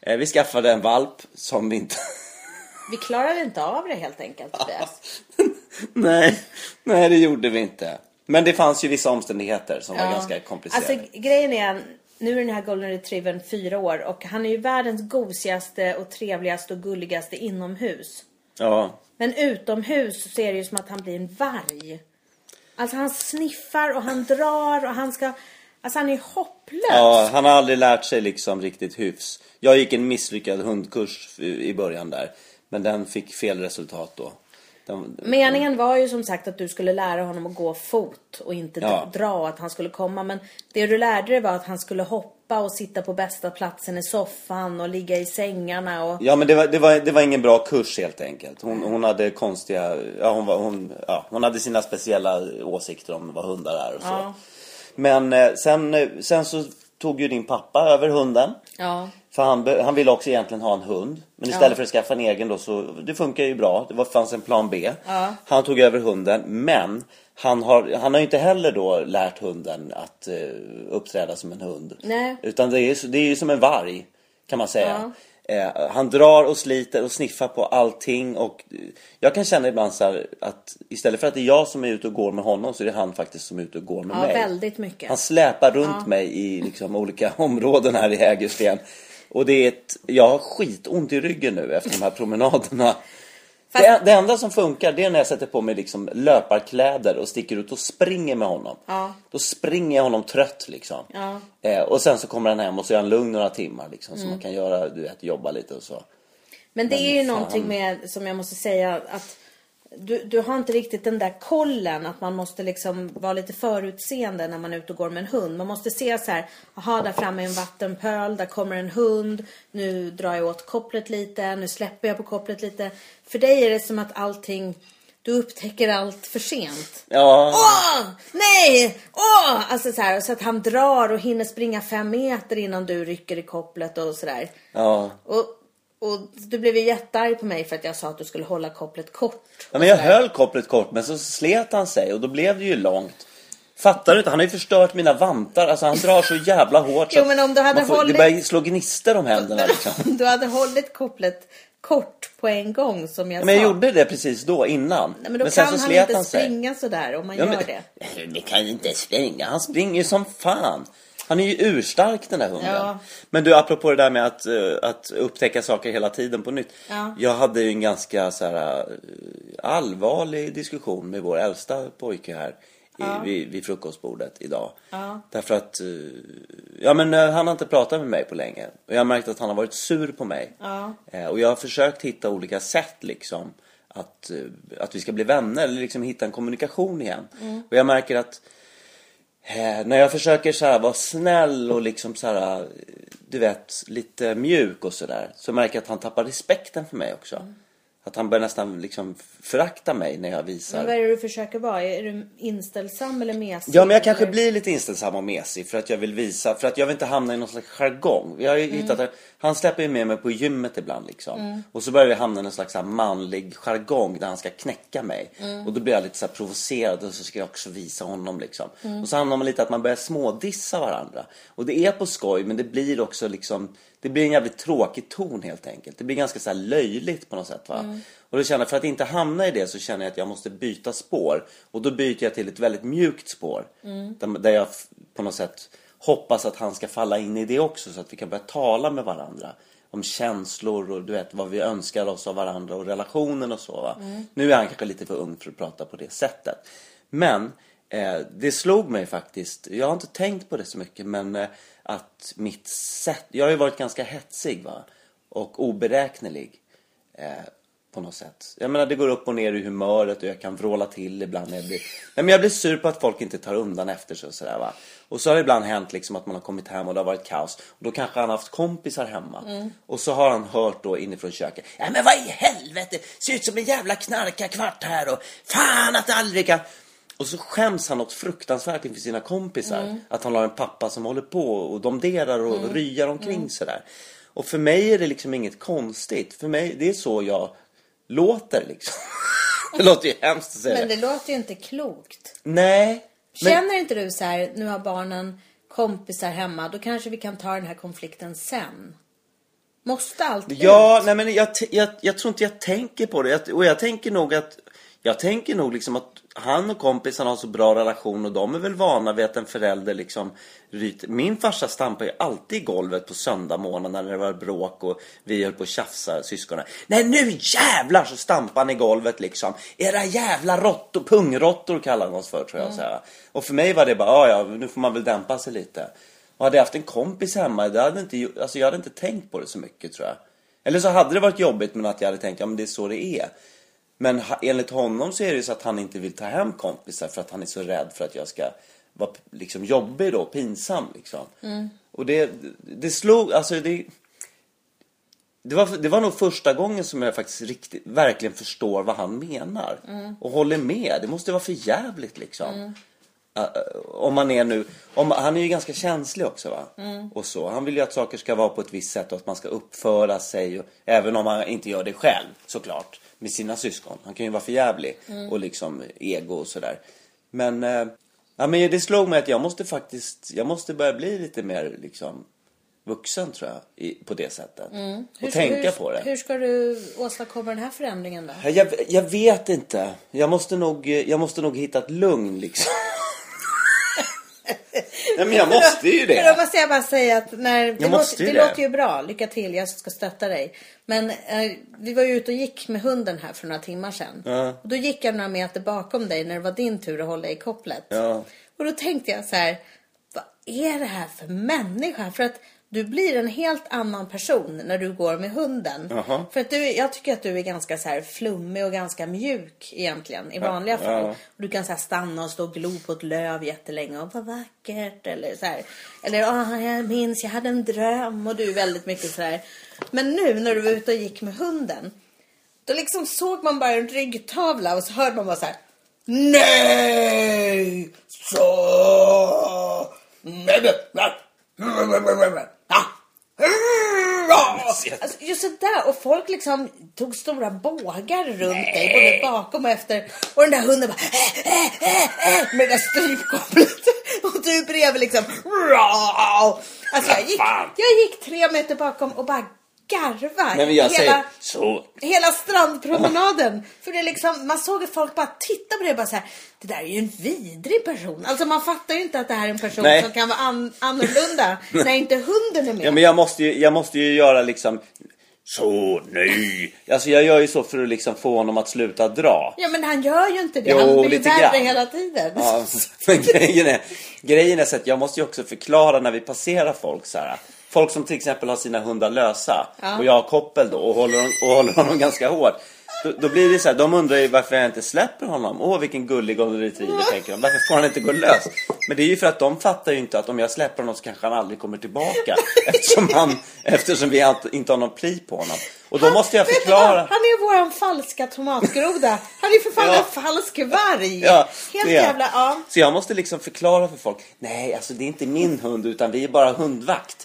Speaker 2: Eh, vi skaffade en valp som
Speaker 1: <laughs>
Speaker 2: vi inte
Speaker 1: Vi klarade inte av det helt enkelt. Tobias.
Speaker 2: <laughs> nej, nej, det gjorde vi inte. Men det fanns ju vissa omständigheter som var
Speaker 1: Ja.
Speaker 2: ganska komplicerade.
Speaker 1: Alltså, grejen är, nu är den här golden retrievern fyra år och han är ju världens gosigaste och trevligaste och gulligaste inomhus.
Speaker 2: Ja,
Speaker 1: Men utomhus så är det ju som att han blir en varg. Alltså han sniffar och han drar och han ska... Alltså han är hopplös.
Speaker 2: ja, han har aldrig lärt sig liksom riktigt hyfs. Jag gick en misslyckad hundkurs i i början där. Men den fick fel resultat då. Den,
Speaker 1: Meningen var ju som sagt att du skulle lära honom att gå fot och inte
Speaker 2: Ja.
Speaker 1: dra och att han skulle komma. Men det du lärde dig var att han skulle hoppa och sitta på bästa platsen i soffan och ligga i sängarna och...
Speaker 2: Ja men det var, det, var, det var ingen bra kurs helt enkelt. Hon, hon hade konstiga, ja hon, var, hon, ja hon hade sina speciella åsikter om vad hundar är och så.
Speaker 1: Ja.
Speaker 2: Men eh, sen, eh, sen så tog ju din pappa över hunden.
Speaker 1: Ja.
Speaker 2: För han, be- han ville också egentligen ha en hund. Men istället för att skaffa en egen då så, det funkar ju bra. Det var, fanns en plan B. Han tog över hunden men han har, han har ju inte heller då lärt hunden att eh, uppträda som en hund.
Speaker 1: Nej.
Speaker 2: Utan det är, ju- det är ju som en varg kan man säga. Eh, han drar och sliter och sniffar på allting och eh, jag kan känna ibland så här att istället för att det är jag som är ute och går med honom så är det han faktiskt som är ute och går med
Speaker 1: Ja,
Speaker 2: mig.
Speaker 1: väldigt mycket.
Speaker 2: Han släpar runt mig i liksom, olika <laughs> områden här i Hägersten. Och det är ett, jag har skitont i ryggen nu efter de här promenaderna. Det, det enda som funkar det är när jag sätter på mig liksom löparkläder och sticker ut och springer med honom.
Speaker 1: Ja.
Speaker 2: Då springer jag honom trött liksom.
Speaker 1: Ja. Mm.
Speaker 2: Eh, och sen så kommer han hem och så är han lugn några timmar liksom. Så man kan göra, du vet, jobba lite och så.
Speaker 1: Men det är ju
Speaker 2: fan.
Speaker 1: någonting med, som jag måste säga, att du, du har inte riktigt den där kollen att man måste liksom vara lite förutseende när man är ute och går med en hund. Man måste se så här, jaha där framme är en vattenpöl, där kommer en hund, nu drar jag åt kopplet lite, nu släpper jag på kopplet lite. För dig är det som att allting, du upptäcker allt för sent.
Speaker 2: Ja.
Speaker 1: Åh, nej, åh! Alltså så här, så att han drar och hinner springa fem meter innan du rycker i kopplet och sådär.
Speaker 2: ja.
Speaker 1: Och, och du blev ju jättearg på mig för att jag sa att du skulle hålla kopplet kort.
Speaker 2: Ja, men jag höll kopplet kort men så slet han sig och då blev det ju långt. Fattar du inte? Han har ju förstört mina vantar. Alltså han drar så jävla hårt så
Speaker 1: Jo, men om du hade
Speaker 2: man får,
Speaker 1: hållit-
Speaker 2: det börjar slå gnistor
Speaker 1: <laughs>
Speaker 2: om händerna liksom.
Speaker 1: Du hade hållit kopplet kort på en gång som jag
Speaker 2: Men jag
Speaker 1: sa.
Speaker 2: gjorde det precis då, innan.
Speaker 1: Nej, men då
Speaker 2: sen
Speaker 1: kan
Speaker 2: så
Speaker 1: han
Speaker 2: slet
Speaker 1: inte
Speaker 2: han sig.
Speaker 1: springa sådär om man
Speaker 2: Ja,
Speaker 1: gör
Speaker 2: men,
Speaker 1: det.
Speaker 2: det kan ju inte springa. Han springer ju som fan. Han är ju urstark den där hunden.
Speaker 1: Ja.
Speaker 2: Men du, apropå det där med att, eh, att upptäcka saker hela tiden på nytt.
Speaker 1: Ja.
Speaker 2: Jag hade ju en ganska så här, eh, allvarlig diskussion med vår äldsta pojke här i, vid, vid frukostbordet idag. Därför att eh, ja, men, eh, han har inte pratat med mig på länge. Och jag har märkt att han har varit sur på mig. Eh, Och jag har försökt hitta olika sätt liksom att, eh, att vi ska bli vänner eller liksom hitta en kommunikation igen. Och jag märker att Eh, när jag försöker så här vara snäll och liksom så här, eh, du vet, lite mjuk och sådär. Så märker jag att han tappar respekten för mig också. Att han börjar nästan liksom förakta mig när jag visar.
Speaker 1: Men vad är det du försöker vara? Är du inställsam eller mesig?
Speaker 2: Ja, men jag kanske
Speaker 1: Eller-
Speaker 2: blir lite inställsam och mesig för att jag vill visa, för att jag vill inte hamna i någon slags jargong. Jag har ju hittat att han släpper ju med mig på gymmet ibland liksom. Och så börjar vi hamna i någon slags så här manlig jargong där han ska knäcka mig. Och då blir jag lite så här provocerad och så ska jag också visa honom liksom. Och så hamnar man lite att man börjar smådissa varandra. Och det är på skoj men det blir också liksom, det blir en jävligt tråkig ton helt enkelt. Det blir ganska så här löjligt på något sätt va. Och då känner jag, för att inte hamna i det så känner jag att jag måste byta spår. Och då byter jag till ett väldigt mjukt spår. Där, där jag f- på något sätt hoppas att han ska falla in i det också så att vi kan börja tala med varandra. Om känslor och du vet vad vi önskar oss av varandra och relationen och så va. Nu är han kanske lite för ung för att prata på det sättet. Men eh, det slog mig faktiskt, jag har inte tänkt på det så mycket men eh, att mitt sätt, jag har ju varit ganska hetsig va. Och oberäknelig eh, på något sätt. Jag menar det går upp och ner i humöret och jag kan vråla till ibland. när Jag blir, Nej, men jag blir sur på att folk inte tar undan efter sig och sådär va. Och så har det ibland hänt liksom att man har kommit hem och det har varit kaos. Och då kanske han har haft kompisar hemma. Och så har han hört då inifrån köket. Ja men vad i helvete, ser ut som en jävla knarkarkvart här och fan att tallriken. Och så skäms han något fruktansvärt inför sina kompisar. Att han har en pappa som håller på och domderar och ryar omkring sådär. Och för mig är det liksom inget konstigt. För mig, det är så jag låter liksom. <laughs> det låter ju hemskt att säga
Speaker 1: Men
Speaker 2: det.
Speaker 1: det låter ju inte klokt.
Speaker 2: Nej. Men,
Speaker 1: Känner inte du så här, nu har barnen kompisar hemma, då kanske vi kan ta den här konflikten sen? Måste allt
Speaker 2: ja, nej, men jag, t- jag, jag tror inte jag tänker på det. Jag, och jag tänker nog att jag tänker nog liksom att han och kompisarna har så bra relation och de är väl vana vid att en förälder liksom ryter. Min farsa stampar ju alltid i golvet på söndag morgon när det var bråk och vi höll på att tjafsa syskonen. Nej nu jävlar så stampar han i golvet liksom. Era jävla råttor, pungråttor kallar han oss för tror jag. Så här. Och för mig var det bara, "Ja, ja nu får man väl dämpa sig lite. Och hade jag haft en kompis hemma, det hade inte, ju- alltså jag hade inte tänkt på det så mycket tror jag. Eller så hade det varit jobbigt men att jag hade tänkt, ja men det är så det är. Men ha- enligt honom så är det ju så att han inte vill ta hem kompisar för att han är så rädd för att jag ska vara p- liksom jobbig då, pinsam liksom. Och det, det slog, alltså det... Det var, det var nog första gången som jag faktiskt riktigt, verkligen förstår vad han menar. Och håller med. Det måste vara för jävligt liksom. Ä- ä, eh, om man är nu, om, han är ju ganska känslig också va?
Speaker 1: Mm.
Speaker 2: Och så. Han vill ju att saker ska vara på ett visst sätt och att man ska uppföra sig. Och, även om han inte gör det själv såklart. Med sina syskon. Han kan ju vara för jävlig
Speaker 1: Mm.
Speaker 2: och liksom ego och sådär. Men, eh, ja, men det slog mig att jag måste faktiskt, jag måste börja bli lite mer liksom vuxen tror jag, i, på det sättet. Och tänka
Speaker 1: Mm. hur,
Speaker 2: på det.
Speaker 1: Hur ska du åstadkomma den här förändringen då?
Speaker 2: Jag, jag vet inte. Jag måste, nog, jag måste nog hitta ett lugn liksom. <laughs> Nej men jag måste ju
Speaker 1: Men då
Speaker 2: det.
Speaker 1: måste jag bara säga att när, det,
Speaker 2: måste
Speaker 1: låter,
Speaker 2: ju
Speaker 1: det,
Speaker 2: det.
Speaker 1: låter ju bra. Lycka till, jag ska stötta dig. Men eh, vi var ju ute och gick med hunden här för några timmar sedan. Och då gick jag några meter bakom dig när det var din tur att hålla i kopplet.
Speaker 2: Ja.
Speaker 1: Och då tänkte jag så här, vad är det här för människa? För att du blir en helt annan person när du går med hunden.
Speaker 2: Jaha.
Speaker 1: För att du, jag tycker att du är ganska så här flummig och ganska mjuk egentligen i vanliga
Speaker 2: ja.
Speaker 1: fall. Och Du kan så här stanna och stå och glo på ett löv jättelänge och vad vackert eller så här. Eller ah, jag minns jag hade en dröm och du är väldigt mycket så här. Men nu när du var ute och gick med hunden. Då liksom såg man bara en ryggtavla och så hörde man bara så här. Nej! Så! Nej, nej, nej. Ah! Hurra!
Speaker 2: gymnasiet.
Speaker 1: Alltså, just sådär. Och folk liksom tog stora bågar runt dig, både bakom och efter. Och den där hunden bara äh, äh, äh, äh, med det där strypkopplet. <laughs> Och du bredvid liksom. "Rau." Alltså, jag, gick,
Speaker 2: Fan.
Speaker 1: jag gick tre meter bakom och bara garvade.
Speaker 2: Nej men jag
Speaker 1: hela,
Speaker 2: säger så.
Speaker 1: hela strandpromenaden. För det är liksom, man såg att folk bara tittade på det och bara så här, det där är ju en vidrig person. Alltså man fattar ju inte att det här är en person
Speaker 2: Nej.
Speaker 1: som kan vara an-
Speaker 2: <laughs>
Speaker 1: annorlunda när inte hunden är med.
Speaker 2: Ja, men jag måste ju, jag måste ju göra liksom så, nej. Alltså jag gör ju så för att liksom få honom att sluta dra.
Speaker 1: Ja men han gör ju inte det.
Speaker 2: Jo,
Speaker 1: han blir ju
Speaker 2: lite
Speaker 1: värre
Speaker 2: grann.
Speaker 1: hela tiden.
Speaker 2: Ja, <laughs> men grejen är, grejen är så att jag måste ju också förklara när vi passerar folk så här. Folk som till exempel har sina hundar lösa och jag har koppel då och håller, hon- och håller honom ganska hårt. Då, då blir det så här, de undrar ju varför jag inte släpper honom. Åh vilken gullig golden retriever tänker de. Varför får han inte gå lös? Men det är ju för att de fattar ju inte att om jag släpper honom så kanske han aldrig kommer tillbaka. <laughs> Eftersom, han, eftersom vi inte- inte har någon pli på honom. Och då måste jag
Speaker 1: Vet du vad?
Speaker 2: förklara.
Speaker 1: Han är våran falska tomatgroda. Han är för fan
Speaker 2: Ja.
Speaker 1: en falsk varg.
Speaker 2: <laughs> Ja,
Speaker 1: Helt
Speaker 2: det är.
Speaker 1: jävla, ja.
Speaker 2: Så jag måste liksom förklara för folk. Nej, alltså det är inte min hund utan vi är bara hundvakt.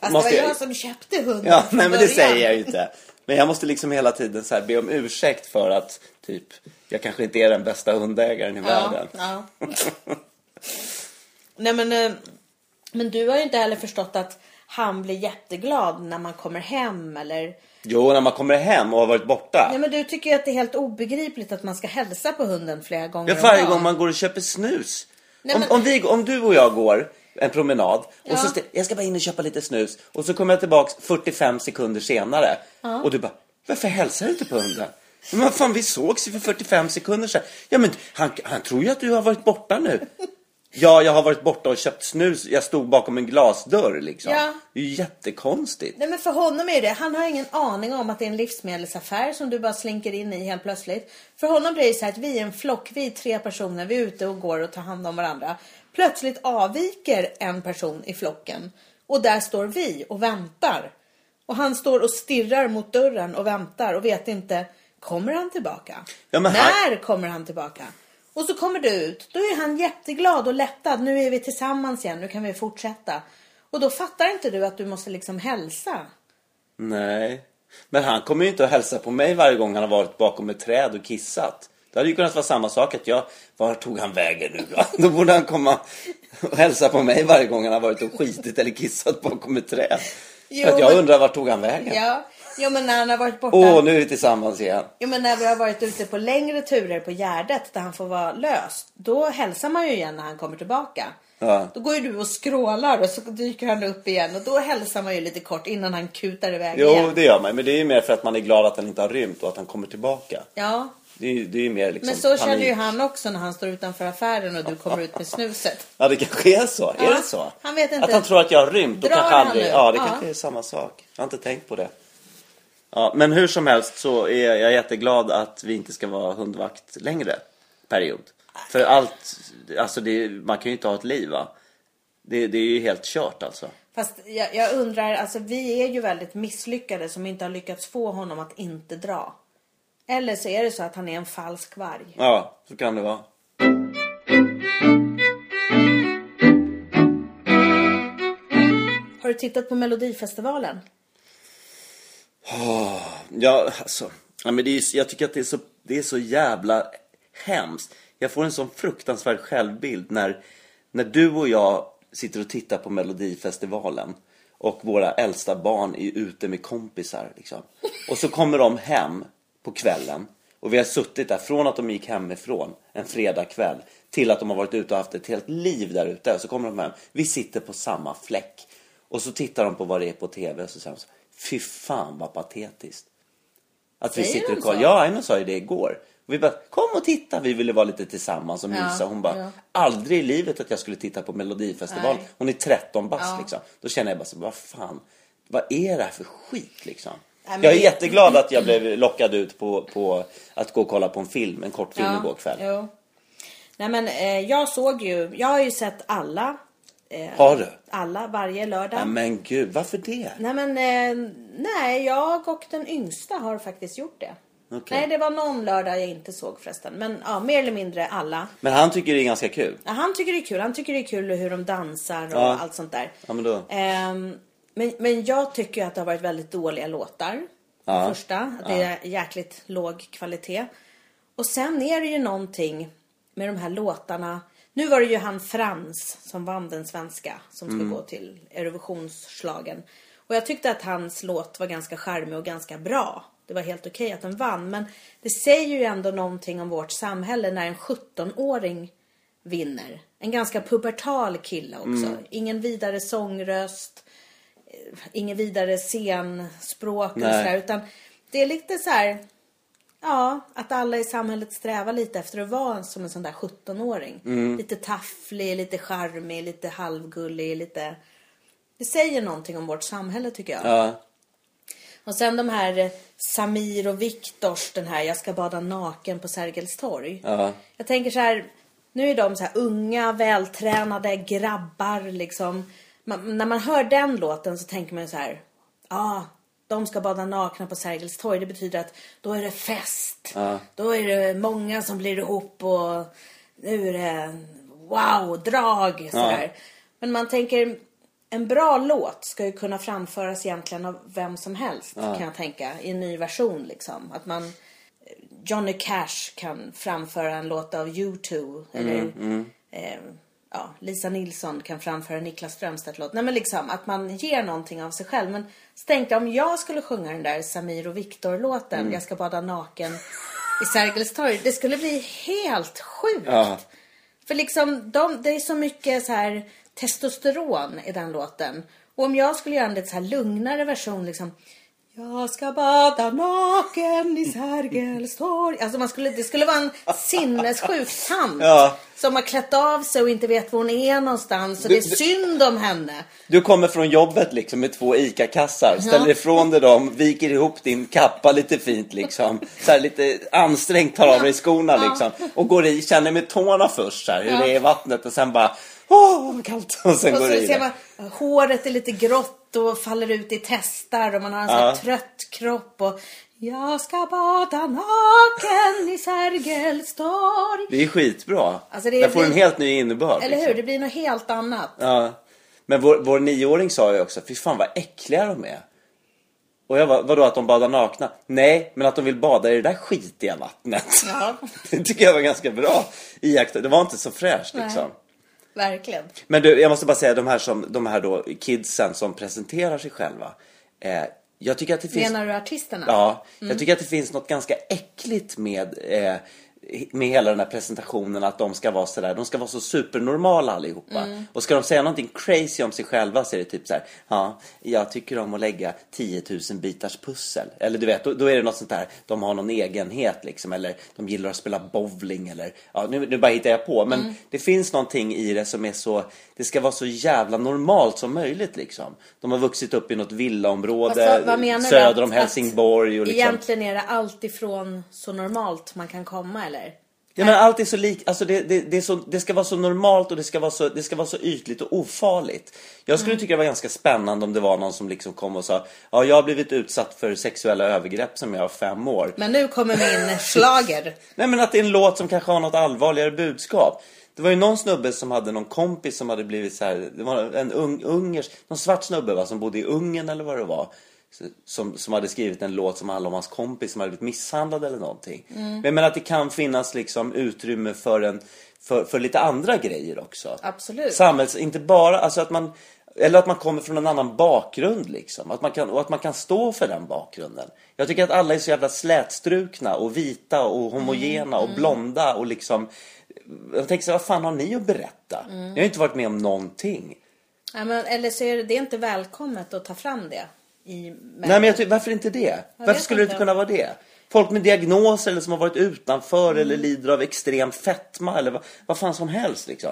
Speaker 1: Fast
Speaker 2: Måste
Speaker 1: det var
Speaker 2: jag-
Speaker 1: jag som köpte hunden
Speaker 2: <laughs> Ja,
Speaker 1: från
Speaker 2: nej men det
Speaker 1: början.
Speaker 2: säger jag ju inte. Men jag måste liksom hela tiden så här be om ursäkt för att typ jag kanske inte är den bästa hundägaren i
Speaker 1: Ja,
Speaker 2: världen.
Speaker 1: ja. <laughs> Nej men, eh, men du har ju inte heller förstått att han blir jätteglad när man kommer hem eller?
Speaker 2: Jo, när man kommer hem och har varit borta.
Speaker 1: Nej men du tycker ju att det är helt obegripligt att man ska hälsa på hunden flera gånger
Speaker 2: Ja,
Speaker 1: om
Speaker 2: varje
Speaker 1: dagen.
Speaker 2: gång man går och köper snus.
Speaker 1: Nej, men-
Speaker 2: om, om, vi, om du och jag går en promenad och så
Speaker 1: Ja.
Speaker 2: stä- jag ska bara in och köpa lite snus och så kommer jag tillbaks 45 sekunder senare och du bara, varför hälsar du inte på hunden? Men vad fan, vi sågs ju för 45 sekunder sedan. Ja, men han, han tror ju att du har varit borta nu. Ja, jag har varit borta och köpt snus. Jag stod bakom en glasdörr liksom.
Speaker 1: Ja.
Speaker 2: Det är ju jättekonstigt.
Speaker 1: Nej men för honom är det, han har ingen aning om att det är en livsmedelsaffär som du bara slinker in i helt plötsligt. För honom blir det så här att vi är en flock, vi är tre personer, vi är ute och går och tar hand om varandra. Plötsligt avviker en person i flocken och där står vi och väntar. Och han står och stirrar mot dörren och väntar och vet inte, kommer han tillbaka?
Speaker 2: Ja, men han-
Speaker 1: När kommer han tillbaka? Och så kommer du ut, då är han jätteglad och lättad, nu är vi tillsammans igen, nu kan vi fortsätta. Och då fattar inte du att du måste liksom hälsa.
Speaker 2: Nej. Men han kommer ju inte att hälsa på mig varje gång han har varit bakom ett träd och kissat. Det hade ju kunnat vara samma sak att jag, var tog han vägen nu då? <laughs> Då borde han komma och hälsa på mig varje gång han har varit och skitit eller kissat bakom ett träd.
Speaker 1: Jo,
Speaker 2: För att jag
Speaker 1: men-
Speaker 2: undrar vart tog han vägen?
Speaker 1: Ja, jo, men när han har varit borta.
Speaker 2: Åh, nu är vi tillsammans igen.
Speaker 1: Jo, men när vi har varit ute på längre turer på Gärdet där han får vara lös. Då hälsar man ju igen när han kommer tillbaka.
Speaker 2: Ja.
Speaker 1: Då går ju du och skrålar och så dyker han upp igen. Och då hälsar man ju lite kort innan han kutar iväg
Speaker 2: Jo,
Speaker 1: igen.
Speaker 2: det gör man. Men det är ju mer för att man är glad att han inte har rymt och att han kommer tillbaka.
Speaker 1: Ja,
Speaker 2: Det är ju det är ju mer liksom
Speaker 1: men så känner
Speaker 2: panik.
Speaker 1: ju han också när han står utanför affären och du kommer ut med snuset.
Speaker 2: Ja, det kanske är så.
Speaker 1: Ja,
Speaker 2: är det så?
Speaker 1: han vet inte.
Speaker 2: Att han tror att jag har rymt. Då
Speaker 1: Drar
Speaker 2: kanske
Speaker 1: han
Speaker 2: aldrig...
Speaker 1: nu?
Speaker 2: Ja, det
Speaker 1: Ja.
Speaker 2: kanske är samma sak. Jag har inte tänkt på det. Ja, men hur som helst så är jag jätteglad att vi inte ska vara hundvakt längre period. För allt, alltså det, man kan ju inte ha ett liv va? Det, det är ju helt kört alltså.
Speaker 1: Fast jag, jag undrar, alltså vi är ju väldigt misslyckade som inte har lyckats få honom att inte dra. Eller så är det så att han är en falsk varg.
Speaker 2: Ja, så kan det vara.
Speaker 1: Har du tittat på Melodifestivalen?
Speaker 2: Ja, alltså. Ja, men det är, ju- jag tycker att det är, så, det är så jävla hemskt. Jag får en sån fruktansvärd självbild när, när du och jag sitter och tittar på Melodifestivalen och våra äldsta barn är ute med kompisar. Liksom. Och så kommer de hem på kvällen och vi har suttit där från att de gick hemifrån en fredagkväll till att de har varit ute och haft ett helt liv där ute. Så kommer de hem. Vi sitter på samma fläck. Och så tittar de på vad det är på TV och så säger de så Fy fan vad patetiskt. Att vi
Speaker 1: Säger
Speaker 2: sitter
Speaker 1: de
Speaker 2: och kollar.
Speaker 1: så?
Speaker 2: Ja, Aino sa ju det igår. Och vi bara, kom och titta. Vi ville vara lite tillsammans och
Speaker 1: Ja,
Speaker 2: mysa. Hon bara,
Speaker 1: ja.
Speaker 2: aldrig i livet att jag skulle titta på Melodifestivalen.
Speaker 1: Nej.
Speaker 2: Hon är 13 bast
Speaker 1: Ja.
Speaker 2: liksom. Då känner jag bara så, vad fan. Vad är det här för skit liksom?
Speaker 1: Nej, men
Speaker 2: jag är
Speaker 1: det-
Speaker 2: jätteglad att jag blev lockad ut på, på att gå och kolla på en film, en kortfilm igår kväll.
Speaker 1: Jo. Nej men eh, jag såg ju, jag har ju sett alla, eh,
Speaker 2: Har du?
Speaker 1: alla varje lördag.
Speaker 2: Ja, men gud, varför det?
Speaker 1: Nej men, eh, nej jag och den yngsta har faktiskt gjort det.
Speaker 2: Okej.
Speaker 1: Nej det var någon lördag jag inte såg förresten. Men ja, mer eller mindre alla.
Speaker 2: Men han tycker det är ganska kul.
Speaker 1: Ja, han tycker det är kul, han tycker det är kul hur de dansar och
Speaker 2: Ja.
Speaker 1: allt sånt där.
Speaker 2: Ja, men då.
Speaker 1: Ehm, Men, men jag tycker ju att det har varit väldigt dåliga låtar.
Speaker 2: Ja.
Speaker 1: Första, att det är jäkligt låg kvalitet. Och sen är det ju någonting med de här låtarna. Nu var det ju han Frans som vann den svenska som skulle
Speaker 2: Mm.
Speaker 1: gå till Eurovisionsschlagen. Och jag tyckte att hans låt var ganska charmig och ganska bra. Det var helt okej att den vann. Men det säger ju ändå någonting om vårt samhälle när en 17-åring vinner. En ganska pubertal kille också.
Speaker 2: Mm.
Speaker 1: Ingen vidare sångröst inget vidare scenspråk och
Speaker 2: Nej.
Speaker 1: sådär. Utan det är lite så här, ja, att alla i samhället strävar lite efter att vara en- som en sån där 17-åring.
Speaker 2: Mm.
Speaker 1: Lite tafflig, lite charmig, lite halvgullig, lite... Det säger någonting om vårt samhälle tycker jag.
Speaker 2: Ja.
Speaker 1: Och sen de här eh, Samir och Viktors, den här Jag ska bada naken på Sergels torg.
Speaker 2: Ja.
Speaker 1: Jag tänker så här, nu är de så här unga, vältränade grabbar liksom. Man, när man hör den låten så tänker man ju så här, ja, ah, de ska bada nakna på Sergels torg. Det betyder att då är det fest.
Speaker 2: Ja.
Speaker 1: Då är det många som blir ihop och nu är det wow-drag. sådär. Men man tänker, en bra låt ska ju kunna framföras egentligen av vem som helst kan jag tänka. I en ny version liksom. Att man, Johnny Cash kan framföra en låt av U2. Eller Eh, ja, Lisa Nilsson kan framföra Niklas Strömstedt-låt. Nej men liksom att man ger någonting av sig själv. Men så tänkte jag om jag skulle sjunga den där Samir och Viktor-låten, Jag ska bada naken i Sergels torg. Det skulle bli helt sjukt.
Speaker 2: Ja.
Speaker 1: För liksom, de, det är så mycket så här testosteron i den låten. Och om jag skulle göra en lite så här lugnare version liksom. Jag ska bada naken i Sergels torg. Alltså man skulle, det skulle vara en sinnessjuk tant.
Speaker 2: Ja.
Speaker 1: Som har klätt av sig och inte vet var hon är någonstans. Och
Speaker 2: Du-
Speaker 1: det är
Speaker 2: du-
Speaker 1: synd om henne.
Speaker 2: Du kommer från jobbet liksom med två ICA-kassar, ställer ifrån dig dem, viker ihop din kappa lite fint liksom. Så här lite ansträngt tar av dig skorna liksom. Och går i, känner med tårna först så här, hur
Speaker 1: Ja.
Speaker 2: det är i vattnet och sen bara Åh, vad kallt! <laughs> Och sen
Speaker 1: Och
Speaker 2: går
Speaker 1: så
Speaker 2: du i
Speaker 1: ser
Speaker 2: det.
Speaker 1: man, håret är lite grått och faller ut i testar och man har en sån här
Speaker 2: Ja.
Speaker 1: trött kropp och jag ska bada naken i Sergels torg.
Speaker 2: Det är skitbra.
Speaker 1: Alltså, det
Speaker 2: det
Speaker 1: är-
Speaker 2: får en helt ny innebörd.
Speaker 1: Eller
Speaker 2: liksom.
Speaker 1: hur? Det blir något helt annat.
Speaker 2: Ja. Men vår, vår nioåring sa ju också, fy fan vad äckliga de är. Och jag bara, vadå att de badar nakna? Nej, men att de vill bada i det där skitiga vattnet.
Speaker 1: Ja.
Speaker 2: <laughs> Det tycker jag var ganska bra iakttagelse. Det var inte så fräscht
Speaker 1: Nej.
Speaker 2: liksom.
Speaker 1: Verkligen.
Speaker 2: Men du, jag måste bara säga de här, som, de här då, kidsen som presenterar sig själva. Eh, jag tycker att det finns...
Speaker 1: Menar du artisterna?
Speaker 2: Ja,
Speaker 1: Mm.
Speaker 2: jag tycker att det finns något ganska äckligt med, eh, med hela den här presentationen att de ska vara sådär, de ska vara så supernormala allihopa.
Speaker 1: Mm.
Speaker 2: Och ska de säga någonting crazy om sig själva så är det typ så här, ja, jag tycker om att lägga 10 000 bitars pussel. Eller du vet, då, då är det något sånt där, de har någon egenhet liksom, eller de gillar att spela bowling eller, ja nu, nu bara hittar jag på, men
Speaker 1: Mm.
Speaker 2: det finns någonting i det som är så, det ska vara så jävla normalt som möjligt liksom. De har vuxit upp i något villaområde
Speaker 1: Alltså, vad menar du?
Speaker 2: söder om
Speaker 1: Att- att
Speaker 2: Helsingborg och liksom.
Speaker 1: Egentligen är det allt ifrån så normalt man kan komma eller?
Speaker 2: Ja, men allt är så likt. Alltså det, det, det, är så, det ska vara så normalt och det ska vara så, det ska vara så ytligt och ofarligt. Jag skulle tycka det var ganska spännande om det var någon som liksom kom och sa ja, jag har blivit utsatt för sexuella övergrepp som jag var fem år.
Speaker 1: Men nu kommer
Speaker 2: <laughs>
Speaker 1: min slager.
Speaker 2: Nej, men att det är en låt som kanske har något allvarligare budskap. Det var ju någon snubbe som hade någon kompis som hade blivit så här, det var en ung, ungers, någon svart snubbe va, som bodde i Ungern eller vad det var. Så- Som, som hade skrivit en låt som handlade om hans kompis som hade blivit misshandlad eller någonting. Men, men att det kan finnas liksom utrymme för, en, för, för lite andra grejer också.
Speaker 1: Absolut.
Speaker 2: Samhälls, inte bara, alltså att man, eller att man kommer från en annan bakgrund liksom. Att man kan, och att man kan stå för den bakgrunden. Jag tycker att alla är så jävla slätstrukna och vita och homogena och blonda och liksom. Jag tänker så här, vad fan har ni att berätta? Ni har ju inte varit med om någonting.
Speaker 1: Ja, men, eller så är det, det är inte välkommet att ta fram det. I
Speaker 2: Nej men jag tycker, varför inte det? varför
Speaker 1: vet
Speaker 2: skulle det
Speaker 1: inte.
Speaker 2: inte kunna vara det? Folk med diagnoser eller som har varit utanför eller lider av extrem fetma eller vad, vad fan som helst liksom.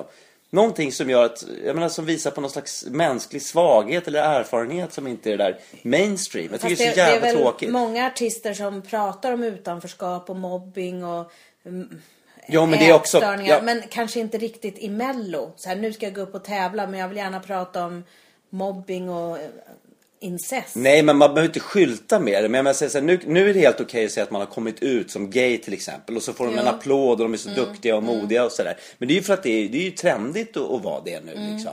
Speaker 2: Någonting som gör att, jag menar som visar på någon slags mänsklig svaghet eller erfarenhet som inte är det där mainstream. Jag tycker
Speaker 1: Fast
Speaker 2: det är så jävla tråkigt.
Speaker 1: många artister som pratar om utanförskap och mobbing och mm,
Speaker 2: Jo men det är också,
Speaker 1: ätstörningar.
Speaker 2: ja,
Speaker 1: Men kanske inte riktigt i mello. Så här, nu ska jag gå upp och tävla men jag vill gärna prata om mobbing och eh, incest.
Speaker 2: Nej, men man behöver inte skylta med det. Men jag säger så här, nu, nu är det helt okej att säga att man har kommit ut som gay till exempel. Och så får de en
Speaker 1: Mm.
Speaker 2: applåd och de är så duktiga och modiga och sådär. Men det är ju för att det är, det är ju trendigt att, att vara det nu liksom.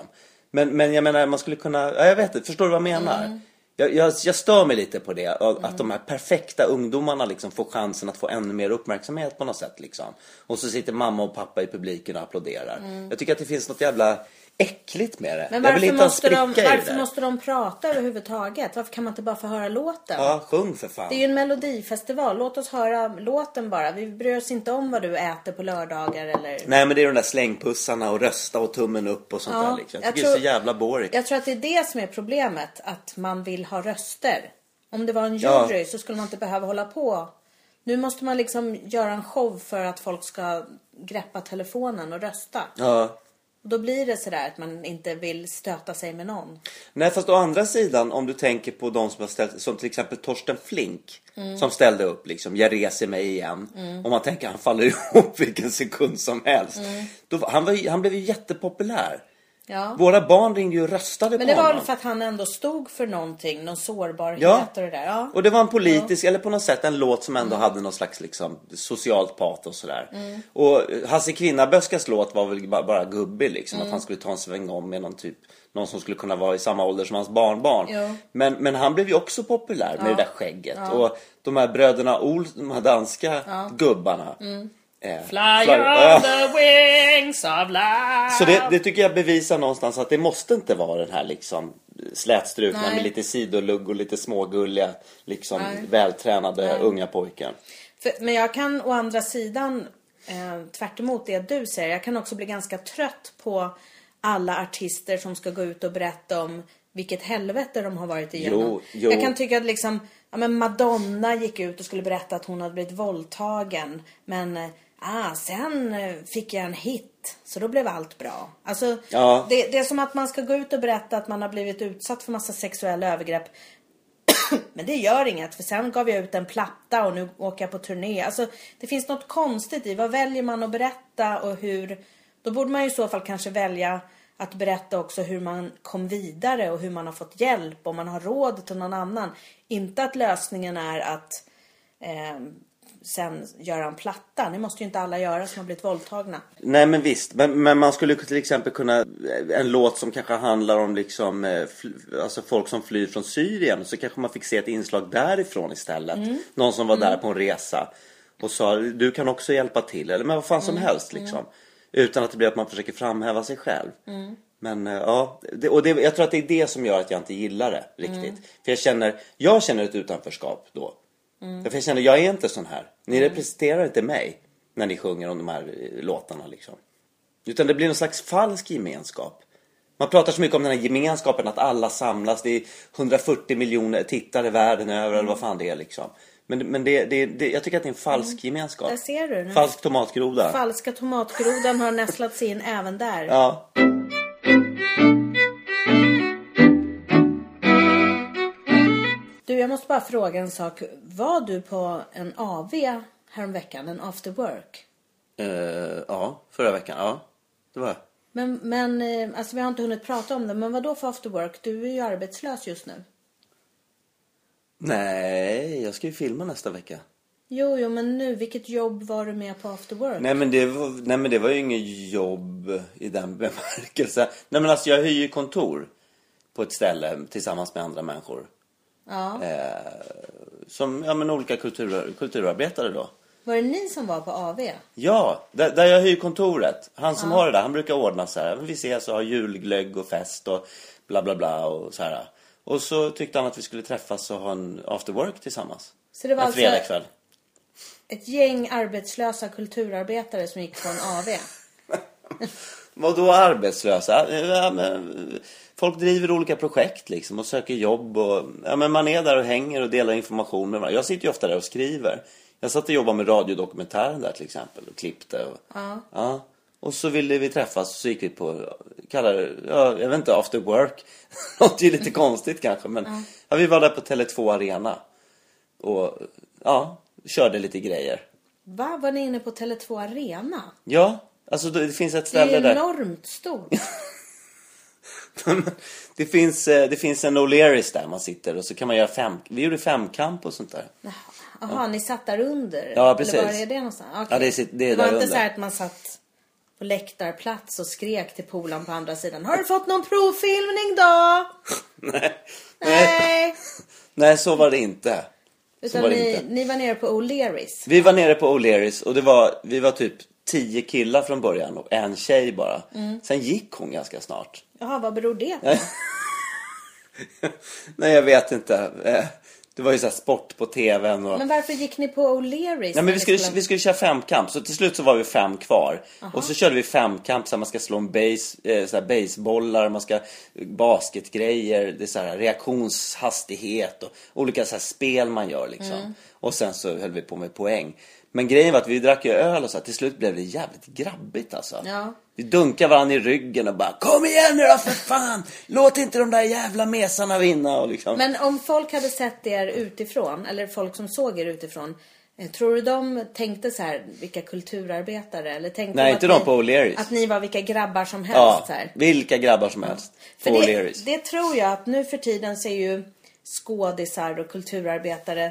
Speaker 2: Men, men jag menar, man skulle kunna... Ja, jag vet inte. Förstår du vad jag menar?
Speaker 1: Mm.
Speaker 2: Jag, jag, jag stör mig lite på det. Att att de här perfekta ungdomarna liksom får chansen att få ännu mer uppmärksamhet på något sätt. Liksom. Och så sitter mamma och pappa i publiken och applåderar. Jag tycker att det finns något jävla äckligt med det.
Speaker 1: Mm. Men
Speaker 2: jag vill
Speaker 1: varför,
Speaker 2: inte ha en
Speaker 1: måste
Speaker 2: spricka
Speaker 1: de,
Speaker 2: i det
Speaker 1: varför
Speaker 2: där.
Speaker 1: måste de prata överhuvudtaget? Varför kan man inte bara få höra låten?
Speaker 2: Ja, sjung för fan.
Speaker 1: Det är ju en melodifestival. Låt oss höra låten bara. Vi bryr oss inte om vad du äter på lördagar eller...
Speaker 2: Nej men det är de där slängpussarna och rösta och tummen upp och sånt
Speaker 1: Ja,
Speaker 2: där liksom. Jag
Speaker 1: jag
Speaker 2: tycker det är
Speaker 1: tror-
Speaker 2: så jävla boring.
Speaker 1: Jag tror att det är det som är problemet. Att man vill ha röster. Om det var en
Speaker 2: Ja.
Speaker 1: jury så skulle man inte behöva hålla på. Nu måste man liksom göra en show för att folk ska greppa telefonen och rösta.
Speaker 2: Ja.
Speaker 1: Och då blir det sådär att man inte vill stöta sig med någon.
Speaker 2: Nej fast å andra sidan om du tänker på de som har ställt, som till exempel Torsten Flink
Speaker 1: Mm.
Speaker 2: som ställde upp liksom, jag reser mig igen. Om man tänker han faller <laughs> ihop vilken sekund som helst.
Speaker 1: Mm.
Speaker 2: Då, han, var, ju- han blev ju jättepopulär.
Speaker 1: Ja.
Speaker 2: Våra barn ringde ju och röstade
Speaker 1: Men
Speaker 2: på
Speaker 1: det var
Speaker 2: honom.
Speaker 1: väl för att han ändå stod för någonting, någon sårbarhet
Speaker 2: Ja.
Speaker 1: och det där. Ja.
Speaker 2: Och det var en politisk, eller på något sätt en låt som ändå hade någon slags liksom, socialt patos och sådär. Och eh, Hasse Kvinnaböskas låt var väl bara, bara gubbig liksom. Att han skulle ta en sväng om med någon typ, någon som skulle kunna vara i samma ålder som hans barnbarn.
Speaker 1: Jo.
Speaker 2: Men, men han blev ju också populär med det där skägget. Och de här bröderna Ols, de här danska gubbarna. eh,
Speaker 1: Mm. Fly
Speaker 2: Fly-
Speaker 1: on
Speaker 2: Ah.
Speaker 1: the wings of love.
Speaker 2: Så det, det tycker jag bevisar någonstans att det måste inte vara den här liksom slätstrukna
Speaker 1: Nej.
Speaker 2: med lite sidolugg och lite smågulliga, liksom vältränade unga pojken.
Speaker 1: För, men jag kan å andra sidan, eh, tvärt emot det du säger, jag kan också bli ganska trött på alla artister som ska gå ut och berätta om vilket helvete de har varit igenom.
Speaker 2: Jo, jo.
Speaker 1: Jag kan tycka att liksom, ja, men Madonna gick ut och skulle berätta att hon hade blivit våldtagen. Men eh, ah, sen eh, fick jag en hit, så då blev allt bra. Alltså,
Speaker 2: Ja.
Speaker 1: det, det är som att man ska gå ut och berätta att man har blivit utsatt för massa sexuella övergrepp. Men det gör inget för sen gav jag ut en platta och nu åker jag på turné. Alltså det finns något konstigt i vad väljer man att berätta och hur. Då borde man ju i så fall kanske välja att berätta också hur man kom vidare och hur man har fått hjälp och man har råd till någon annan. Inte att lösningen är att eh, sen göra en platta. Det måste ju inte alla göra som har blivit våldtagna.
Speaker 2: Nej men visst, men, men man skulle till exempel kunna, eh, en låt som kanske handlar om liksom, eh, fl- alltså folk som flyr från Syrien, så kanske man fick se ett inslag därifrån istället. Någon som var där på en resa och sa du kan också hjälpa till, eller men vad fan som helst liksom. Utan att det blir att man försöker framhäva sig själv. Men eh, ja, det, och det, jag tror att det är det som gör att jag inte gillar det riktigt. För jag känner, jag känner ett utanförskap då.
Speaker 1: Mm.
Speaker 2: För jag känner, jag är inte sån här. Ni representerar inte mig när ni sjunger om de här eh, låtarna liksom. Utan det blir någon slags falsk gemenskap. Man pratar så mycket om den här gemenskapen att alla samlas. Det är 140 miljoner tittare världen över eller vad fan det är liksom. Men, men det, det, det, jag tycker att det är en falsk gemenskap.
Speaker 1: Mm. Där ser du. Nu.
Speaker 2: Falsk tomatgroda.
Speaker 1: Falska tomatgrodan har nästlat sig in även där.
Speaker 2: Ja.
Speaker 1: Du, jag måste bara fråga en sak. Var du på en AV häromveckan, en after work?
Speaker 2: Eh, ja, förra veckan. Ja, det var jag.
Speaker 1: Men, men eh, alltså vi har inte hunnit prata om det, men vad då för after work? Du är ju arbetslös just nu.
Speaker 2: Nej, jag ska ju filma nästa vecka.
Speaker 1: Jo, jo, men nu, vilket jobb var du med på after work?
Speaker 2: Nej men, det var, nej men det var ju inget jobb i den <laughs> bemärkelsen. Nej men alltså jag hyr ju kontor på ett ställe tillsammans med andra människor.
Speaker 1: Ja.
Speaker 2: Som ja, men olika kultur, kulturarbetare då.
Speaker 1: Var det ni som var på AV?
Speaker 2: Ja, där, där jag hyr kontoret. Han som har det där, han brukar ordna så här. Vi ses och har julglögg och fest och bla bla bla och så här. Och så tyckte han att vi skulle träffas och ha en after work tillsammans.
Speaker 1: Så det var
Speaker 2: en
Speaker 1: alltså-
Speaker 2: fredagkväll.
Speaker 1: Ett gäng arbetslösa kulturarbetare som gick på en AV.
Speaker 2: Vadå arbetslösa? Ja, men, folk driver olika projekt liksom och söker jobb. Och, ja, men man är där och hänger och delar information med varandra. Jag sitter ju ofta där och skriver. Jag satt och jobbade med radiodokumentären där till exempel och klippte. Och, ja. och så ville vi träffas och så gick vi på, kallar det, ja, jag vet inte, after work. <laughs> Låter ju lite konstigt kanske men ja. vi var där på Tele2 Arena. Och ja, körde lite grejer.
Speaker 1: Va? Var ni inne på Tele2 Arena?
Speaker 2: Ja, alltså det finns ett
Speaker 1: Det är
Speaker 2: ställe
Speaker 1: ju
Speaker 2: där.
Speaker 1: enormt stort.
Speaker 2: det, finns, eh, det finns en O'Learys där man sitter och så kan man göra fem, vi gjorde femkamp och sånt där. <laughs>
Speaker 1: Jaha, ni satt där under?
Speaker 2: Ja, precis.
Speaker 1: Eller var är det någonstans? Ah, Okej.
Speaker 2: Ja, det är sitt- det är
Speaker 1: var
Speaker 2: där
Speaker 1: inte
Speaker 2: under.
Speaker 1: så här att man satt på läktarplats och skrek till polaren på andra sidan. Har du fått någon provfilmning då?
Speaker 2: Nej. Nej. <laughs>
Speaker 1: Nej.
Speaker 2: Nej, så var det inte.
Speaker 1: Utan
Speaker 2: var det
Speaker 1: ni,
Speaker 2: inte.
Speaker 1: ni var nere på O'Learys.
Speaker 2: Vi var nere på O'Learys och det var, vi var typ tio killar från början och en tjej bara. Sen gick hon ganska snart.
Speaker 1: Jaha, vad beror det på?
Speaker 2: Nej, jag vet inte. Eh, Det var ju så här sport på tvn och...
Speaker 1: Men varför gick ni på O'Learys?
Speaker 2: Nej,
Speaker 1: när
Speaker 2: men vi
Speaker 1: ni
Speaker 2: skulle,
Speaker 1: skulle-
Speaker 2: vi skulle köra femkamp, så till slut så var vi fem kvar. Och så körde vi femkamp, så här, man ska slå en base, eh, så här, basebollar, man ska eh, basketgrejer, det är så här, reaktionshastighet och olika så här, spel man gör liksom.
Speaker 1: Mm.
Speaker 2: Och sen så höll vi på med poäng. Men grejen var att vi drack ju öl och så här, till slut blev det jävligt grabbigt alltså.
Speaker 1: Ja.
Speaker 2: Vi dunkade varandra i ryggen och bara Kom igen nu då för fan! Låt inte de där jävla mesarna vinna och liksom.
Speaker 1: Men om folk hade sett er utifrån, eller folk som såg er utifrån. eh, Tror du de tänkte så här, vilka kulturarbetare? Eller tänkte
Speaker 2: Nej,
Speaker 1: att
Speaker 2: inte de
Speaker 1: ni-
Speaker 2: på O'Learys.
Speaker 1: Att ni var vilka grabbar som helst.
Speaker 2: Ja,
Speaker 1: Alltså Så här.
Speaker 2: vilka grabbar som helst.
Speaker 1: För
Speaker 2: på
Speaker 1: det,
Speaker 2: O'Learys.
Speaker 1: det tror jag att nu för tiden ser ju skådisar och kulturarbetare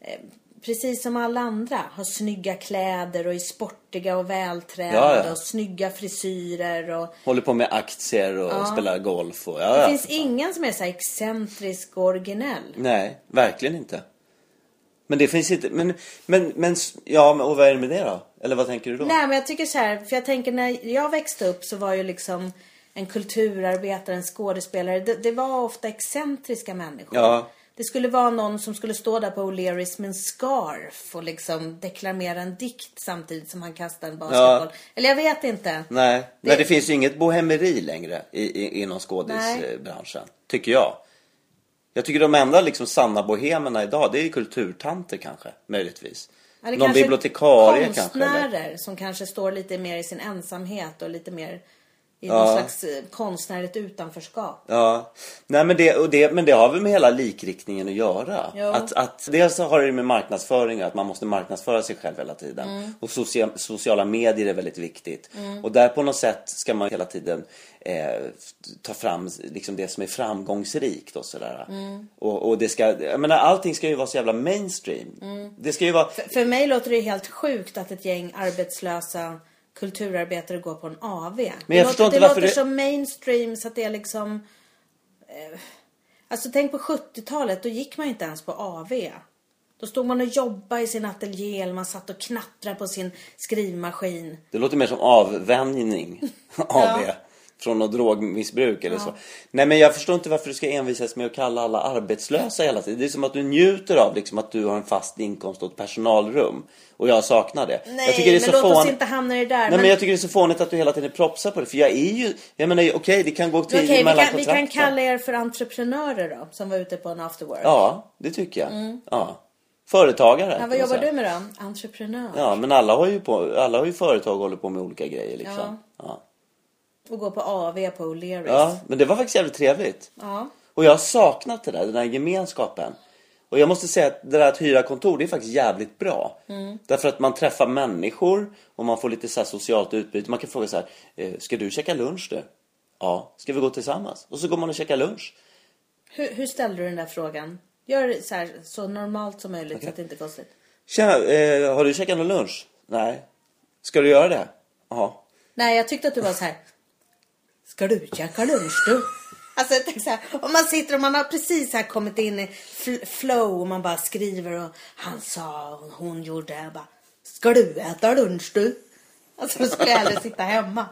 Speaker 1: eh, precis som alla andra har snygga kläder och är sportiga och vältränade
Speaker 2: Ja, ja.
Speaker 1: och snygga frisyrer och
Speaker 2: Håller på med aktier och spelar golf och ja,
Speaker 1: Det
Speaker 2: ja.
Speaker 1: finns ingen som är så här excentrisk och originell.
Speaker 2: Nej, verkligen inte. Men det finns inte, men, men, men, s- ja, men, och vad är det med det då? Eller vad tänker du då?
Speaker 1: Nej men jag tycker så här, för jag tänker när jag växte upp så var ju liksom en kulturarbetare, en skådespelare, det, det var ofta excentriska människor.
Speaker 2: Ja.
Speaker 1: Det skulle vara någon som skulle stå där på O'Learys med en scarf och liksom deklamera en dikt samtidigt som han kastade en basketboll. Eller jag vet inte.
Speaker 2: Nej, det...
Speaker 1: Det-
Speaker 2: Nej, det finns ju inget bohemeri längre i, i, inom
Speaker 1: Nej.
Speaker 2: skådisbranschen, tycker jag. Jag tycker de enda liksom sanna bohemerna idag, det är kulturtanter kanske, möjligtvis.
Speaker 1: Ja, det
Speaker 2: Någon
Speaker 1: kanske är
Speaker 2: bibliotekarie kanske.
Speaker 1: konstnärer
Speaker 2: Eller?
Speaker 1: som kanske står lite mer i sin ensamhet och lite mer i
Speaker 2: Ja.
Speaker 1: någon slags eh, konstnärligt utanförskap.
Speaker 2: Ja, Nej, men, det, och det, men det har väl med hela likriktningen att göra.
Speaker 1: Jo.
Speaker 2: Att, att, dels så har det med marknadsföring att man måste marknadsföra sig själv hela tiden.
Speaker 1: Mm.
Speaker 2: Och socia, sociala medier är väldigt viktigt. Och där på något sätt ska man hela tiden eh, ta fram liksom det som är framgångsrikt och sådär.
Speaker 1: Mm.
Speaker 2: Och, och det ska, jag menar, allting ska ju vara så jävla mainstream. Det ska ju vara...
Speaker 1: Mm. För mig låter det helt sjukt att ett gäng arbetslösa kulturarbetare går på en AV. Men det
Speaker 2: jag förstår
Speaker 1: låter,
Speaker 2: inte
Speaker 1: det
Speaker 2: varför
Speaker 1: låter
Speaker 2: det-
Speaker 1: så mainstream så att det är liksom... Eh, alltså tänk på 70-talet, då gick man ju inte ens på AV. Då stod man och jobbade i sin ateljé eller man satt och knattrade på sin skrivmaskin.
Speaker 2: Det låter mer som
Speaker 1: <laughs>
Speaker 2: avvänjning av det. Från något drogmissbruk eller så. Nej men jag förstår inte varför du ska envisas med att kalla alla arbetslösa hela tiden. Det är som att du njuter av liksom, att du har en fast inkomst och ett personalrum. Och jag saknar det.
Speaker 1: Nej,
Speaker 2: jag tycker det är
Speaker 1: men
Speaker 2: så
Speaker 1: låt oss
Speaker 2: fån-
Speaker 1: inte hamna i det där.
Speaker 2: Nej,
Speaker 1: men-
Speaker 2: men... jag tycker det är så fånigt att du hela tiden propsar på det. För jag är ju, jag menar okej det kan gå
Speaker 1: Okej,
Speaker 2: tio okay,
Speaker 1: vi,
Speaker 2: mellan
Speaker 1: kan, vi kan
Speaker 2: kontrakt, va?
Speaker 1: kalla er för entreprenörer då, som var ute på en after work.
Speaker 2: Ja, det tycker jag. Ja.
Speaker 1: Mm.
Speaker 2: Företagare.
Speaker 1: Ja, vad
Speaker 2: kan man
Speaker 1: jobbar
Speaker 2: säga.
Speaker 1: du med då? Entreprenör?
Speaker 2: Ja, men alla har ju, på, alla har ju företag och håller på med olika grejer liksom. Ja.
Speaker 1: Och går på AV på O'Learys?
Speaker 2: ja, men det var faktiskt jävligt trevligt.
Speaker 1: ja.
Speaker 2: Och jag har saknat det där, den där gemenskapen. Och jag måste säga att det där att hyra kontor, det är faktiskt jävligt bra. Därför att man träffar människor och man får lite så här socialt utbyte. Man kan fråga så här, eh, ska du käka lunch du? Ja, ska vi gå tillsammans? Och så går man och käkar lunch.
Speaker 1: Hur, hur ställde du den där frågan? Gör det så, här, så normalt som möjligt så att det inte är konstigt.
Speaker 2: Tjena, eh, har du käkat någon lunch? Nej. Ska du göra det? Ja.
Speaker 1: Nej, jag tyckte att du var så här. Ska du käka lunch du? <laughs> Alltså jag tänker så här, om man sitter och man har precis så här kommit in i fl- flow och man bara skriver och han sa och hon gjorde och bara Ska du äta lunch du? Alltså då skulle jag hellre sitta hemma.